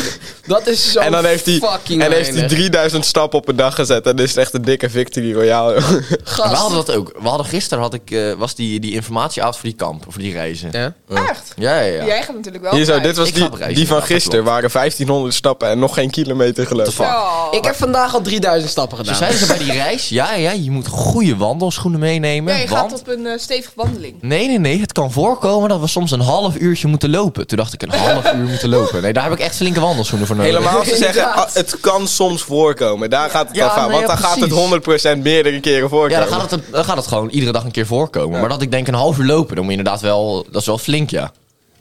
Speaker 2: Dat is zo
Speaker 3: En dan heeft hij,
Speaker 2: fucking
Speaker 3: en heeft hij
Speaker 2: weinig.
Speaker 3: 3000 stappen op een dag gezet. En dat is echt een dikke victory royale.
Speaker 4: En We
Speaker 2: Gast.
Speaker 4: hadden dat ook. We hadden gisteren had ik, eh, was die, die informatieavond voor die kamp, voor die reizen. Ja,
Speaker 2: Ja.
Speaker 1: Echt?
Speaker 4: ja, ja.
Speaker 1: Jij gaat natuurlijk wel.
Speaker 3: Hier zo,
Speaker 1: vrij.
Speaker 3: dit was
Speaker 4: Ik
Speaker 3: die,
Speaker 4: ga op reis,
Speaker 3: die van
Speaker 4: ja, dat
Speaker 3: gisteren.
Speaker 4: klopt.
Speaker 3: waren 1500 stappen en nog geen kilometer gelopen.
Speaker 4: fuck?
Speaker 1: Oh.
Speaker 2: Ik heb vandaag al 3000 stappen
Speaker 4: Ze
Speaker 2: gedaan.
Speaker 4: zeiden ze bij die reis, ja, ja, je moet goede wandelschoenen meenemen.
Speaker 1: Ja, je
Speaker 4: want...
Speaker 1: gaat op een eh, stevige wandeling.
Speaker 4: Nee, nee, nee. Het kan voorkomen dat we soms een half uurtje moeten lopen. Toen dacht ik, een half uur moeten lopen. Nee, daar heb ik echt flinke wandelschoenen voor nodig.
Speaker 3: Helemaal te zeggen,
Speaker 1: Inderdaad.
Speaker 3: ah, het kan soms voorkomen. Daar gaat het
Speaker 4: Ja,
Speaker 3: af aan.
Speaker 4: nee,
Speaker 3: Want
Speaker 4: ja,
Speaker 3: dan
Speaker 4: precies.
Speaker 3: gaat het 100% meerdere keren
Speaker 4: Ja,
Speaker 3: voorkomen.
Speaker 4: dan gaat, het, dan gaat het gewoon iedere dag een keer voorkomen. Maar dat ik denk een half uur lopen, dan moet je inderdaad wel... Dat is wel flink, ja.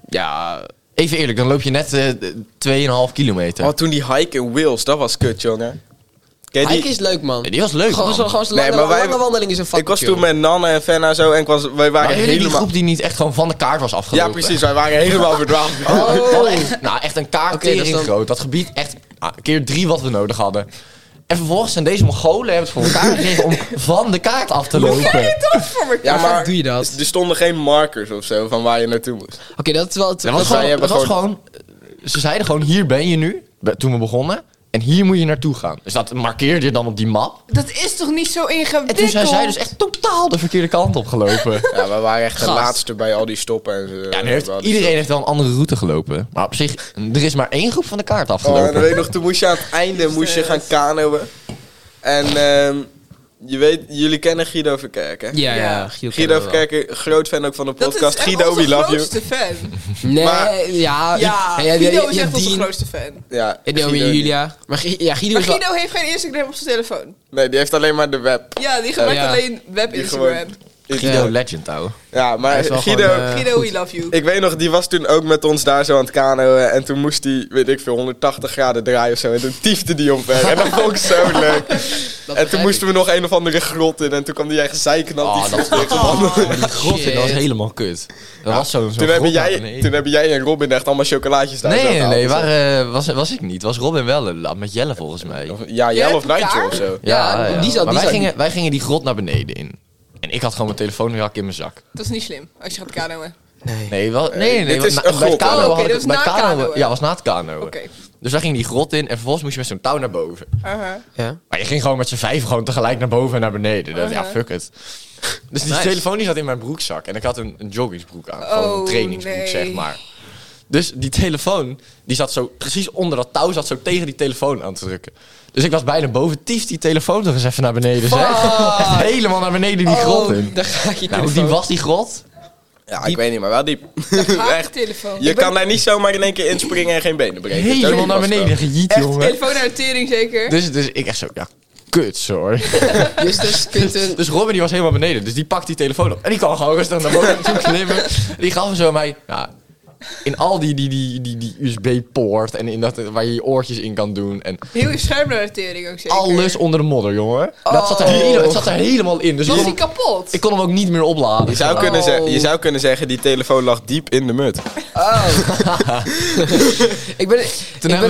Speaker 2: Ja.
Speaker 4: Even eerlijk, dan loop je net eh 2,5 kilometer.
Speaker 3: Oh, toen die hike in Wales, dat was kut, jongen. Ken je die-
Speaker 2: Hike is leuk, man.
Speaker 4: Nee, Die was leuk,
Speaker 2: Gewoon
Speaker 4: man.
Speaker 2: zo'n gewoon zo'n
Speaker 3: Nee,
Speaker 2: lange,
Speaker 3: maar wij-
Speaker 2: lange wandeling is een fucking
Speaker 3: ik was
Speaker 2: chill.
Speaker 3: toen met Nanne en Fenna en zo en ik was, wij waren
Speaker 4: Maar jullie die
Speaker 3: helemaal...
Speaker 4: groep die niet echt gewoon van de kaart was
Speaker 3: Ja,
Speaker 4: afgelopen?
Speaker 3: precies, wij waren helemaal verdwaald.
Speaker 4: Oh. Echt, nou, echt een kaart
Speaker 2: Oké, dat is dan-
Speaker 4: groot. Dat gebied echt ah, keer drie wat we nodig hadden. En vervolgens zijn deze Mongolen hebben het voor elkaar gekregen om van de kaart af te lopen.
Speaker 3: Ja,
Speaker 2: Hoe
Speaker 3: maar
Speaker 2: vaak doe je dat?
Speaker 3: er stonden geen markers of zo van waar je naartoe moest.
Speaker 2: Oké, dat is wel het...
Speaker 4: Dat was,
Speaker 3: zij
Speaker 4: gewoon,
Speaker 3: hebben
Speaker 4: dat was gewoon... Ze zeiden gewoon, hier ben je nu, be- toen we begonnen. En hier moet je naartoe gaan. Dus dat markeerde je dan op die map.
Speaker 1: Dat is toch niet zo ingewikkeld?
Speaker 4: En toen zijn zij dus echt totaal de verkeerde kant op gelopen.
Speaker 3: Ja, we waren echt de
Speaker 2: Gast.
Speaker 3: laatste bij al die stoppen en zo.
Speaker 4: Ja, nu heeft, iedereen heeft wel een andere route gelopen. Maar op zich, er is maar één groep van de kaart
Speaker 3: Oh, en dan
Speaker 4: afgelopen.
Speaker 3: weet ik nog, toen moest je aan het einde moest je gaan kanoën. En ehm, je weet, jullie kennen Guido Verkerk, hè?
Speaker 2: Ja, ja.
Speaker 1: Ja.
Speaker 2: Giel
Speaker 3: Guido
Speaker 2: kennen we wel.
Speaker 3: Verkerk, groot fan ook van de
Speaker 1: Dat is
Speaker 3: podcast.
Speaker 1: echt
Speaker 3: Guido,
Speaker 1: onze
Speaker 3: we love you.
Speaker 1: grootste fan.
Speaker 2: Nee,
Speaker 3: Maar-
Speaker 1: Ja,
Speaker 2: ja. ik- Ah, ja, ja,
Speaker 1: Guido
Speaker 2: ja,
Speaker 1: is
Speaker 2: ja,
Speaker 1: echt onze
Speaker 2: Dean,
Speaker 1: grootste fan.
Speaker 3: Ja,
Speaker 2: En Naomi en Julia. Maar Gi- ja, Guido
Speaker 1: Maar
Speaker 2: is wel...
Speaker 1: Guido heeft geen Instagram op zijn telefoon.
Speaker 3: Nee, die heeft alleen maar de web.
Speaker 1: Ja, die gebruikt
Speaker 2: Ja.
Speaker 1: alleen
Speaker 3: Die
Speaker 1: web-Instagram.
Speaker 4: Guido Legend, ouwe.
Speaker 3: Ja,
Speaker 2: Hij
Speaker 3: maar
Speaker 2: is wel
Speaker 3: Guido...
Speaker 2: gewoon, eh,
Speaker 1: Guido, we love you.
Speaker 3: Ik weet nog, die was toen ook met ons daar zo aan het kanoën. En toen moest hij, weet ik veel, 180 graden draaien of zo. En toen tiefde die omver. En dat vond ik zo leuk.
Speaker 2: dat
Speaker 3: en
Speaker 2: begrijp
Speaker 3: toen
Speaker 2: ik.
Speaker 3: moesten we nog een of andere grot in. En toen kwam die eigen zeiknat.
Speaker 4: Oh,
Speaker 3: die
Speaker 4: dat-
Speaker 3: vloog tegen de wand.
Speaker 4: Maar die grot in, dat was
Speaker 2: Shit.
Speaker 4: helemaal kut. Dat was zo'n zo'n nou,
Speaker 3: toen, hebben
Speaker 4: grot naar
Speaker 3: jij,
Speaker 4: beneden.
Speaker 3: toen hebben jij en Robin echt allemaal chocolaatjes daar
Speaker 4: Nee,
Speaker 3: zo
Speaker 4: nee,
Speaker 3: gehaald
Speaker 4: nee,
Speaker 3: en zo.
Speaker 4: waar, eh, was, was ik niet. Was Robin wel eh, la- met Jelle volgens mij.
Speaker 3: Of- Ja,
Speaker 1: Jij
Speaker 3: jij of
Speaker 1: hebt
Speaker 3: Nigel
Speaker 1: elkaar?
Speaker 3: of zo.
Speaker 2: Ja, die zat-
Speaker 4: maar
Speaker 2: die
Speaker 4: wij,
Speaker 2: zat
Speaker 4: gingen, wij gingen die grot naar beneden in. En ik had gewoon mijn telefoonrak in mijn zak.
Speaker 1: Dat is niet slim als je gaat kanoën.
Speaker 4: Nee, wel, nee, nee.
Speaker 3: dit
Speaker 4: want
Speaker 3: is
Speaker 4: na-
Speaker 3: een
Speaker 4: bij
Speaker 3: grot,
Speaker 4: het kanoën
Speaker 1: hè?
Speaker 4: had
Speaker 1: Oké,
Speaker 4: ik-
Speaker 1: dat is
Speaker 4: bij het
Speaker 1: na
Speaker 4: kanoën-
Speaker 1: kanoën.
Speaker 4: Ja, was na het kanoën.
Speaker 1: Oké.
Speaker 4: Dus wij gingen die grot in en vervolgens moest je met zo'n touw naar boven.
Speaker 1: Aha.
Speaker 2: Ja.
Speaker 4: Maar je ging gewoon met z'n vijf gewoon tegelijk naar boven en naar beneden. Dat- Ja,
Speaker 1: Uh-huh.
Speaker 4: fuck it. Dus die
Speaker 2: Nice.
Speaker 4: telefoon die zat in mijn broekzak. En ik had een, een joggingsbroek aan. Gewoon een
Speaker 1: Oh,
Speaker 4: trainingsbroek,
Speaker 1: nee.
Speaker 4: zeg maar. Dus die telefoon, die zat zo precies onder dat touw, zat zo tegen die telefoon aan te drukken. Dus ik was bijna boven, tief die telefoon toch eens even naar beneden, zeg. Echt helemaal naar beneden die grot in.
Speaker 2: Oh, daar ga je
Speaker 4: Nou, die
Speaker 2: telefoon.
Speaker 4: was die grot?
Speaker 3: Ja, ik weet niet, maar wel diep.
Speaker 1: Echt
Speaker 3: echt.
Speaker 1: telefoon.
Speaker 3: Je kan daar niet zomaar in één keer inspringen en geen benen breken. Zo
Speaker 4: Helemaal
Speaker 3: diep
Speaker 4: naar
Speaker 3: was het
Speaker 4: beneden gejiet,
Speaker 1: Echt
Speaker 4: jongen.
Speaker 1: telefoon naar de tering zeker.
Speaker 4: Dus, dus ik echt zo, ja, kut, sorry.
Speaker 2: Justus kunt een...
Speaker 4: Dus Robin die was helemaal beneden. Dus die pakt die telefoon op. En die kan gewoon rustig naar boven toe klimmen. Die gaf hem zo aan mij. Ja, in al die, die, die, die, die USB-poort en in dat, waar je je oortjes in kan doen. En
Speaker 1: Heel je scherm naar de tering ook zeker.
Speaker 4: alles onder de modder, jongen. Dat zat er,
Speaker 1: Oh.
Speaker 4: hele- het zat er helemaal in. Dus ik
Speaker 1: Was
Speaker 4: kon,
Speaker 1: die
Speaker 4: hem-
Speaker 1: kapot?
Speaker 4: ik kon hem ook niet meer opladen.
Speaker 3: Je zou,
Speaker 4: Gewoon.
Speaker 3: kunnen zeggen, je
Speaker 2: Oh.
Speaker 3: zou kunnen zeggen, die telefoon lag diep in de mut.
Speaker 2: Ik ben...
Speaker 4: toen,
Speaker 2: ik
Speaker 4: hebben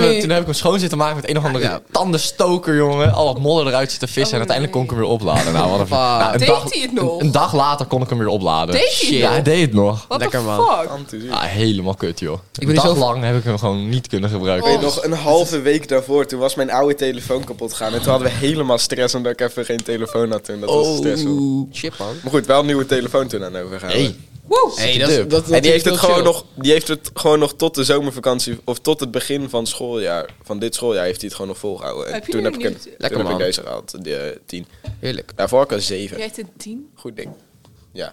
Speaker 2: ben
Speaker 4: we,
Speaker 2: nu...
Speaker 4: toen heb ik hem schoon zitten maken met een of andere
Speaker 2: Ja.
Speaker 4: tandenstoker, jongen. Al wat modder eruit zitten vissen. en uiteindelijk kon ik hem weer opladen. Nou, wat een,
Speaker 2: Fuck.
Speaker 4: nou, een
Speaker 1: Oh, Deed
Speaker 4: dag,
Speaker 1: hij het
Speaker 4: een-
Speaker 1: nog?
Speaker 4: Een, dag later kon ik hem weer opladen.
Speaker 1: Deed hij het
Speaker 4: Shit. Ja,
Speaker 1: nog?
Speaker 4: hij deed het nog.
Speaker 1: What
Speaker 2: Lekker,
Speaker 1: the
Speaker 2: man.
Speaker 1: fuck?
Speaker 4: Ja, helemaal kut, joh.
Speaker 2: ben
Speaker 4: een
Speaker 2: niet
Speaker 4: dag
Speaker 2: zo-
Speaker 4: lang heb ik hem gewoon niet kunnen
Speaker 3: Ik
Speaker 4: gebruiken.
Speaker 3: weet
Speaker 1: Oh.
Speaker 3: nog een halve week daarvoor, toen was mijn oude telefoon kapot gegaan. En toen hadden we helemaal stress omdat ik even geen telefoon had toen. Dat
Speaker 1: Oh.
Speaker 3: was stressvol.
Speaker 2: Oh, Shit, man.
Speaker 3: Maar goed, wel een nieuwe telefoon toen aan overgehouden.
Speaker 4: Hey,
Speaker 1: Woe.
Speaker 2: Hey, dat, is-
Speaker 4: Dub.
Speaker 2: dat, dat
Speaker 3: En die
Speaker 2: is
Speaker 3: heeft, het
Speaker 2: wel
Speaker 3: gewoon
Speaker 2: chill.
Speaker 3: nog, die heeft het gewoon nog tot de zomervakantie, of tot het begin van schooljaar, van dit schooljaar, heeft hij het gewoon nog volgehouden. En
Speaker 1: Heb je
Speaker 3: toen
Speaker 1: die
Speaker 3: heb, ik,
Speaker 1: nog
Speaker 3: een,
Speaker 1: niet?
Speaker 3: toen
Speaker 2: Lekker,
Speaker 3: heb ik
Speaker 2: man.
Speaker 3: deze gehaald, de eh, tien.
Speaker 2: Heerlijk.
Speaker 3: Daarvoor had ik een zeven.
Speaker 1: Jij hebt een 10?
Speaker 3: Goed ding. Ja.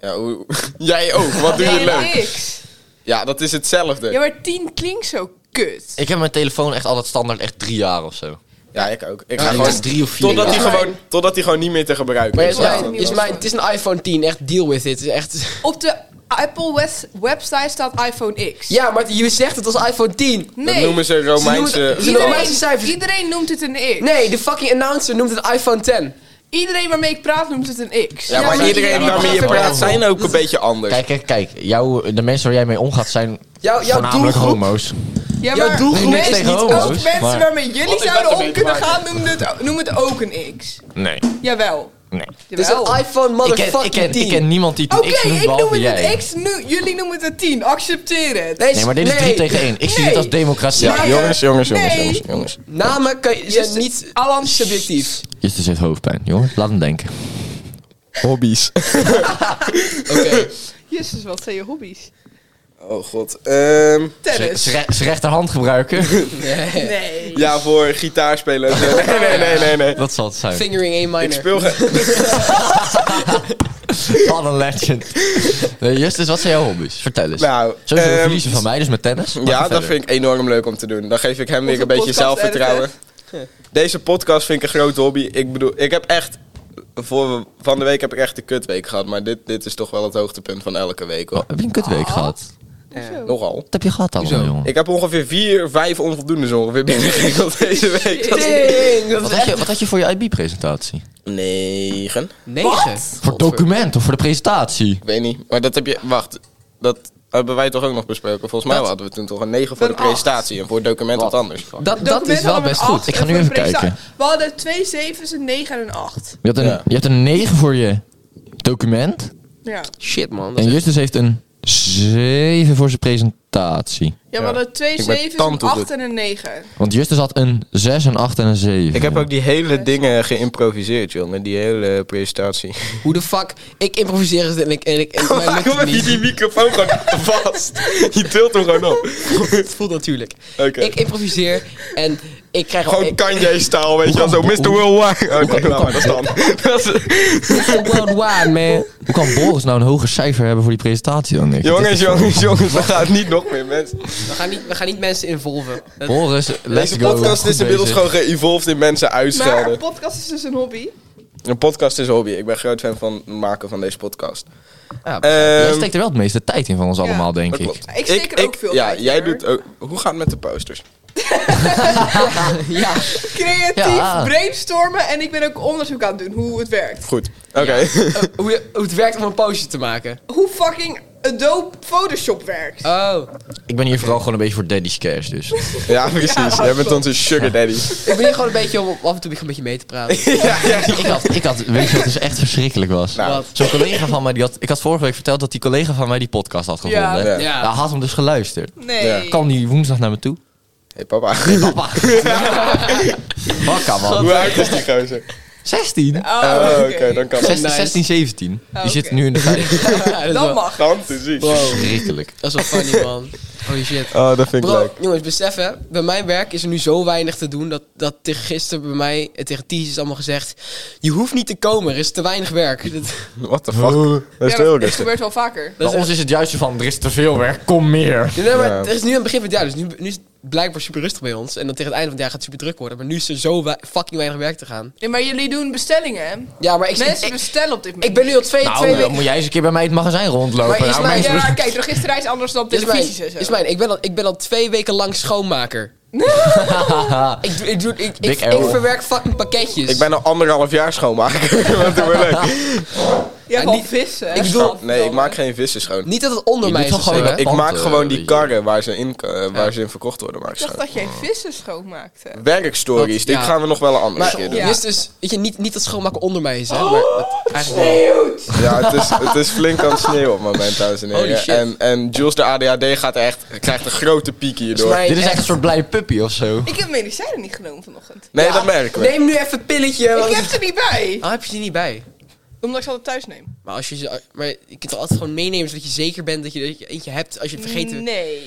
Speaker 3: ja hoe, jij ook, wat doe je leuk?
Speaker 1: niks.
Speaker 3: Ja, dat is hetzelfde.
Speaker 1: Ja, maar 10 klinkt zo kut.
Speaker 4: ik heb mijn telefoon echt altijd standaard echt drie jaar of zo.
Speaker 3: Ja, ik ook. Ik ga
Speaker 4: Ja, ik
Speaker 3: gewoon
Speaker 4: was drie of vier
Speaker 3: Totdat
Speaker 4: jaar.
Speaker 3: hij gewoon, totdat hij gewoon niet meer te gebruiken
Speaker 2: Maar
Speaker 3: is.
Speaker 2: is
Speaker 1: Ja,
Speaker 2: mijn,
Speaker 1: dat
Speaker 2: is
Speaker 1: is
Speaker 2: mijn,
Speaker 1: wel.
Speaker 2: het is een iPhone 10, echt deal with it. Het is echt...
Speaker 1: Op de Apple wes- website staat iPhone X.
Speaker 2: Ja, maar je zegt het als iPhone 10.
Speaker 1: Nee.
Speaker 3: Dat noemen ze Romeinse...
Speaker 2: Ze noemen het-
Speaker 1: Iedereen,
Speaker 2: Romeinse cijfers.
Speaker 1: iedereen noemt het een X.
Speaker 2: Nee, de fucking announcer noemt het iPhone 10.
Speaker 1: Iedereen waarmee ik praat noemt het een X.
Speaker 3: Ja, maar
Speaker 4: maar
Speaker 3: iedereen
Speaker 4: iedereen
Speaker 3: waarmee je
Speaker 4: praat
Speaker 3: praat
Speaker 4: ook.
Speaker 3: zijn ook een beetje anders.
Speaker 4: Kijk, kijk, kijk. Jou, de mensen waar jij mee omgaat zijn
Speaker 2: Jouw- jouw
Speaker 4: voornamelijk
Speaker 2: doelgroep-
Speaker 4: homo's.
Speaker 1: Ja,
Speaker 2: Jouw
Speaker 1: maar
Speaker 2: doelgroep
Speaker 1: mensen-
Speaker 4: is tegen
Speaker 1: ook
Speaker 4: homo's,
Speaker 1: mensen
Speaker 4: dus, maar-
Speaker 1: waarmee jullie
Speaker 2: Wat heeft
Speaker 1: zouden
Speaker 2: dat ermee
Speaker 1: om
Speaker 2: te
Speaker 1: kunnen
Speaker 2: maken?
Speaker 1: gaan, noemen het, noemen het ook een X.
Speaker 4: Nee,
Speaker 1: Jawel.
Speaker 4: nee.
Speaker 2: Dit is
Speaker 1: Jawel.
Speaker 2: een iPhone
Speaker 4: Ik ken, ik,
Speaker 2: motherfucking
Speaker 4: ken, ik
Speaker 2: 10.
Speaker 4: ken niemand die het
Speaker 1: Oké,
Speaker 4: een X noemt,
Speaker 1: ik noem
Speaker 4: behalve
Speaker 1: het
Speaker 4: jij.
Speaker 1: een X, nu, jullie noemen het een 10. Accepteer het.
Speaker 4: Nee, maar dit is 3 tegen 1. Ik zie
Speaker 1: Nee.
Speaker 4: dit als democratie.
Speaker 1: Ja.
Speaker 3: jongens, jongens, jongens,
Speaker 1: Nee.
Speaker 3: jongens, jongens.
Speaker 2: Namen kan je, zijn niet
Speaker 1: Alan,
Speaker 2: subjectief.
Speaker 4: Justus heeft hoofdpijn, jongens. Laat hem denken.
Speaker 3: Hobbies.
Speaker 2: Oké.
Speaker 1: Jezus, wat zijn je hobby's?
Speaker 3: Oh god. Ehm,
Speaker 4: Ze
Speaker 1: Tennis.
Speaker 4: ze re- ze rechterhand gebruiken.
Speaker 2: Nee.
Speaker 1: Nee.
Speaker 3: ja, voor gitaar spelen. en zo. Nee, nee, nee, nee. nee.
Speaker 4: Dat zal het zijn.
Speaker 2: Fingering A minor.
Speaker 3: Ik speel ge-
Speaker 4: Wat een legend. Nee, Justus, wat zijn jouw hobby's? Vertel eens.
Speaker 3: Nou,
Speaker 4: Sowieso
Speaker 3: ehm,
Speaker 4: verliezen van mij, dus met tennis. Maar
Speaker 3: Ja,
Speaker 4: ga
Speaker 3: dat
Speaker 4: verder.
Speaker 3: vind ik enorm leuk om te doen. Dan geef ik hem weer
Speaker 1: Onze
Speaker 3: een beetje
Speaker 1: podcast
Speaker 3: zelfvertrouwen.
Speaker 2: editen.
Speaker 3: Deze podcast vind ik een grote hobby. Ik bedoel, ik heb echt... Voor, van de week heb ik echt een kutweek gehad. Maar dit, dit is toch wel het hoogtepunt van elke week, hoor.
Speaker 4: Oh, heb je een kutweek gehad?
Speaker 3: Nogal.
Speaker 4: Wat heb je gehad allemaal, jongen?
Speaker 3: Ik heb ongeveer vier, vijf onvoldoendes ongeveer binnengekregen deze week. Dat is
Speaker 2: Ding, dat
Speaker 4: Wat
Speaker 2: is
Speaker 4: had, je,
Speaker 2: echt-
Speaker 4: wat had je voor je IB-presentatie?
Speaker 3: negen.
Speaker 2: Negen.
Speaker 4: Voor document of voor de presentatie?
Speaker 3: Ik weet niet. Maar dat heb je... Wacht. Dat hebben wij toch ook nog besproken. Volgens mij hadden we toen toch een negen voor de
Speaker 1: Een acht.
Speaker 3: presentatie. En voor het document wat anders.
Speaker 2: Dat, dat
Speaker 1: Documenten
Speaker 2: is wel
Speaker 1: hadden we
Speaker 2: best
Speaker 1: een
Speaker 2: goed.
Speaker 1: acht
Speaker 4: Ik ga
Speaker 1: en
Speaker 4: nu
Speaker 1: voor de
Speaker 4: even
Speaker 1: presentatie-
Speaker 4: kijken.
Speaker 1: We hadden twee zevens, een 9 en een 8.
Speaker 4: Je had een,
Speaker 3: Ja.
Speaker 4: je hebt een 9 voor je document.
Speaker 1: Ja.
Speaker 2: Shit, man.
Speaker 4: En Justus heeft een 7 voor zijn presentatie.
Speaker 1: Ja, we hadden twee
Speaker 3: Ik ben
Speaker 1: zevens, een
Speaker 3: tand op
Speaker 1: 8
Speaker 3: dit.
Speaker 1: en een 9.
Speaker 4: Want Justus had een 6, een 8 en een 7.
Speaker 3: Ik heb ook die hele dingen geïmproviseerd, jongen. Die hele presentatie.
Speaker 2: Hoe de fuck? Ik improviseer dus het en ik... En ik en mij lukt
Speaker 3: Waarom
Speaker 2: het
Speaker 3: heb je
Speaker 2: niet.
Speaker 3: die microfoon gewoon vast? Je tilt hem gewoon op.
Speaker 2: Het voelt natuurlijk.
Speaker 3: Oké.
Speaker 2: Ik improviseer en ik krijg... al-
Speaker 3: Gewoon
Speaker 2: ik-
Speaker 3: Kanye-staal, weet je wel. Zo, Mr. Worldwide. Oké, laat maar, dat is dan. Dat is-
Speaker 2: Worldwide, man.
Speaker 4: Hoe kan Boris nou een hoger cijfer hebben voor die presentatie dan ik?
Speaker 3: Jongens, jongens, jongens. We gaan het niet nog meer, mensen.
Speaker 2: We gaan niet, we gaan niet mensen involven. Dat-
Speaker 4: Boris, let's
Speaker 3: Deze
Speaker 4: go.
Speaker 3: podcast
Speaker 4: Goed
Speaker 3: is inmiddels
Speaker 4: bezig.
Speaker 3: gewoon geëvolved in mensen
Speaker 1: Maar
Speaker 3: uitschelden.
Speaker 1: een podcast is dus een hobby.
Speaker 3: Een podcast is een hobby. Ik ben groot fan van het maken van deze podcast.
Speaker 4: Ja,
Speaker 3: Ehm,
Speaker 4: jij steekt er wel het meeste tijd in van ons allemaal, denk
Speaker 3: dat
Speaker 4: ik.
Speaker 3: klopt.
Speaker 1: Ik steek er ook veel
Speaker 3: Ja,
Speaker 1: tijd in,
Speaker 3: jij
Speaker 1: hoor.
Speaker 3: doet ook... Hoe gaat het met de posters?
Speaker 2: ja.
Speaker 1: Creatief,
Speaker 4: Ja.
Speaker 1: brainstormen en ik ben ook onderzoek aan het doen hoe het werkt.
Speaker 3: Goed. Oké.
Speaker 2: Eh, hoe, je- hoe het werkt om een poosje te maken.
Speaker 1: Hoe fucking Adobe Photoshop werkt.
Speaker 2: Oh.
Speaker 4: Ik ben hier vooral gewoon een beetje voor daddy's cash, dus.
Speaker 3: Ja, precies. Jij bent onze sugar daddy.
Speaker 2: Ik ben hier gewoon een beetje om af en toe een beetje mee te praten.
Speaker 4: ik, had, ik had, weet je wat dus echt verschrikkelijk was?
Speaker 3: Nou.
Speaker 2: Wat?
Speaker 4: Zo'n collega van mij, die had, ik had vorige week verteld dat die collega van mij die podcast had gevonden.
Speaker 1: Ja.
Speaker 4: Ja.
Speaker 3: Ja.
Speaker 2: Ja.
Speaker 4: Hij had hem dus geluisterd.
Speaker 1: nee.
Speaker 4: Kwam die woensdag naar me toe.
Speaker 3: hey, papa.
Speaker 4: Papa. Bakka man.
Speaker 3: Hoe oud is die gozer?
Speaker 4: 16?
Speaker 1: Oh,
Speaker 3: Oh, oké,
Speaker 1: oké.
Speaker 3: dan kan het.
Speaker 4: 16, 16, 17. Die
Speaker 1: oké.
Speaker 4: zit nu in de vijf.
Speaker 2: Ja, dat is wel-
Speaker 1: Dan mag.
Speaker 3: Dan te zien.
Speaker 2: Wow.
Speaker 4: Verschrikkelijk.
Speaker 2: Dat is wel funny, man. Holy shit.
Speaker 3: Oh, dat vind ik
Speaker 2: Bro,
Speaker 3: leuk.
Speaker 2: jongens, besef hè. Bij mijn werk is er nu zo weinig te doen dat, dat tegen gisteren bij mij, eh, tegen Ties is allemaal gezegd... Je hoeft niet te komen, er is te weinig werk. Dat,
Speaker 3: What the fuck? Dat is
Speaker 1: Ja,
Speaker 3: heel
Speaker 1: dat,
Speaker 3: rustig.
Speaker 1: gebeurt wel vaker.
Speaker 4: Bij
Speaker 2: dat is
Speaker 4: ons is het juist zo van, er is te veel werk, kom meer.
Speaker 2: Nee, maar
Speaker 3: Ja.
Speaker 2: er is nu aan het begin van het jaar, dus nu, nu is het blijkbaar super rustig bij ons. En dan tegen het einde van het jaar gaat het super druk worden. Maar nu is er zo wei- fucking weinig werk te gaan.
Speaker 1: Nee, maar jullie doen bestellingen, hè?
Speaker 2: Ja, maar ik,
Speaker 1: Mensen dus-
Speaker 2: ik,
Speaker 1: bestellen op dit moment.
Speaker 2: ik ben nu al twee, twee
Speaker 4: Nou, dan
Speaker 2: weken...
Speaker 4: moet jij eens een keer bij mij het magazijn
Speaker 2: Maar
Speaker 3: Oh,
Speaker 4: rondlopen.
Speaker 2: is
Speaker 4: nou,
Speaker 2: mijn-
Speaker 4: mensen-
Speaker 1: Ja, kijk, registerij is anders dan op televisies en zo.
Speaker 2: Is mijn, ik ben, al, ik ben al twee weken lang schoonmaker. ik, doe- ik, doe- ik, ik,
Speaker 4: Big
Speaker 2: ik
Speaker 4: L.
Speaker 2: verwerk fucking pakketjes.
Speaker 3: Ik ben al anderhalf jaar schoonmaker. Wat doen we leuk.
Speaker 1: Je hebt
Speaker 2: Ja,
Speaker 1: al
Speaker 2: niet-
Speaker 1: vissen.
Speaker 2: ik bedoel-
Speaker 3: Nee, ik maak geen vissen schoon.
Speaker 2: Niet dat het onder
Speaker 4: Je
Speaker 2: mij
Speaker 4: doet
Speaker 2: is.
Speaker 4: toch
Speaker 2: of zo,
Speaker 4: gewoon-
Speaker 2: hè?
Speaker 3: Ik
Speaker 4: Want,
Speaker 3: maak
Speaker 4: eh,
Speaker 3: gewoon
Speaker 4: je-
Speaker 3: die karren waar ze in, eh, waar ze in verkocht worden, maak ik
Speaker 1: Ik dacht
Speaker 3: schoon.
Speaker 1: dat jij vissen schoonmaakte.
Speaker 3: Werkstories, dit
Speaker 2: Ja.
Speaker 3: gaan we nog wel een andere
Speaker 2: Maar
Speaker 3: keer
Speaker 1: Ja.
Speaker 3: doen.
Speaker 2: dus, dus, weet je, niet, niet dat schoonmaken onder mij is, hè?
Speaker 4: Oh.
Speaker 2: Maar dat, eigenlijk wel.
Speaker 3: Ja, het is, het is flink aan het sneeuwen op het moment, dames en
Speaker 2: Holy
Speaker 3: heren.
Speaker 2: shit.
Speaker 3: En, en Jules, de ADHD, gaat echt, krijgt een
Speaker 2: Dus
Speaker 3: grote piek hierdoor.
Speaker 2: Volgens
Speaker 4: Dit is
Speaker 2: Echt.
Speaker 4: echt een soort blije puppy of zo.
Speaker 1: Ik heb medicijnen niet genomen vanochtend.
Speaker 3: Nee,
Speaker 2: Ja,
Speaker 3: dat merken we.
Speaker 2: Neem nu even een pilletje. want-
Speaker 1: Ik heb ze niet bij.
Speaker 2: Ah, heb je die niet bij?
Speaker 1: Omdat ik ze altijd thuis neem.
Speaker 2: Maar, als je, ze- maar je kunt toch altijd gewoon meenemen zodat je zeker bent dat je, dat je eentje hebt als je het vergeten
Speaker 1: Nee.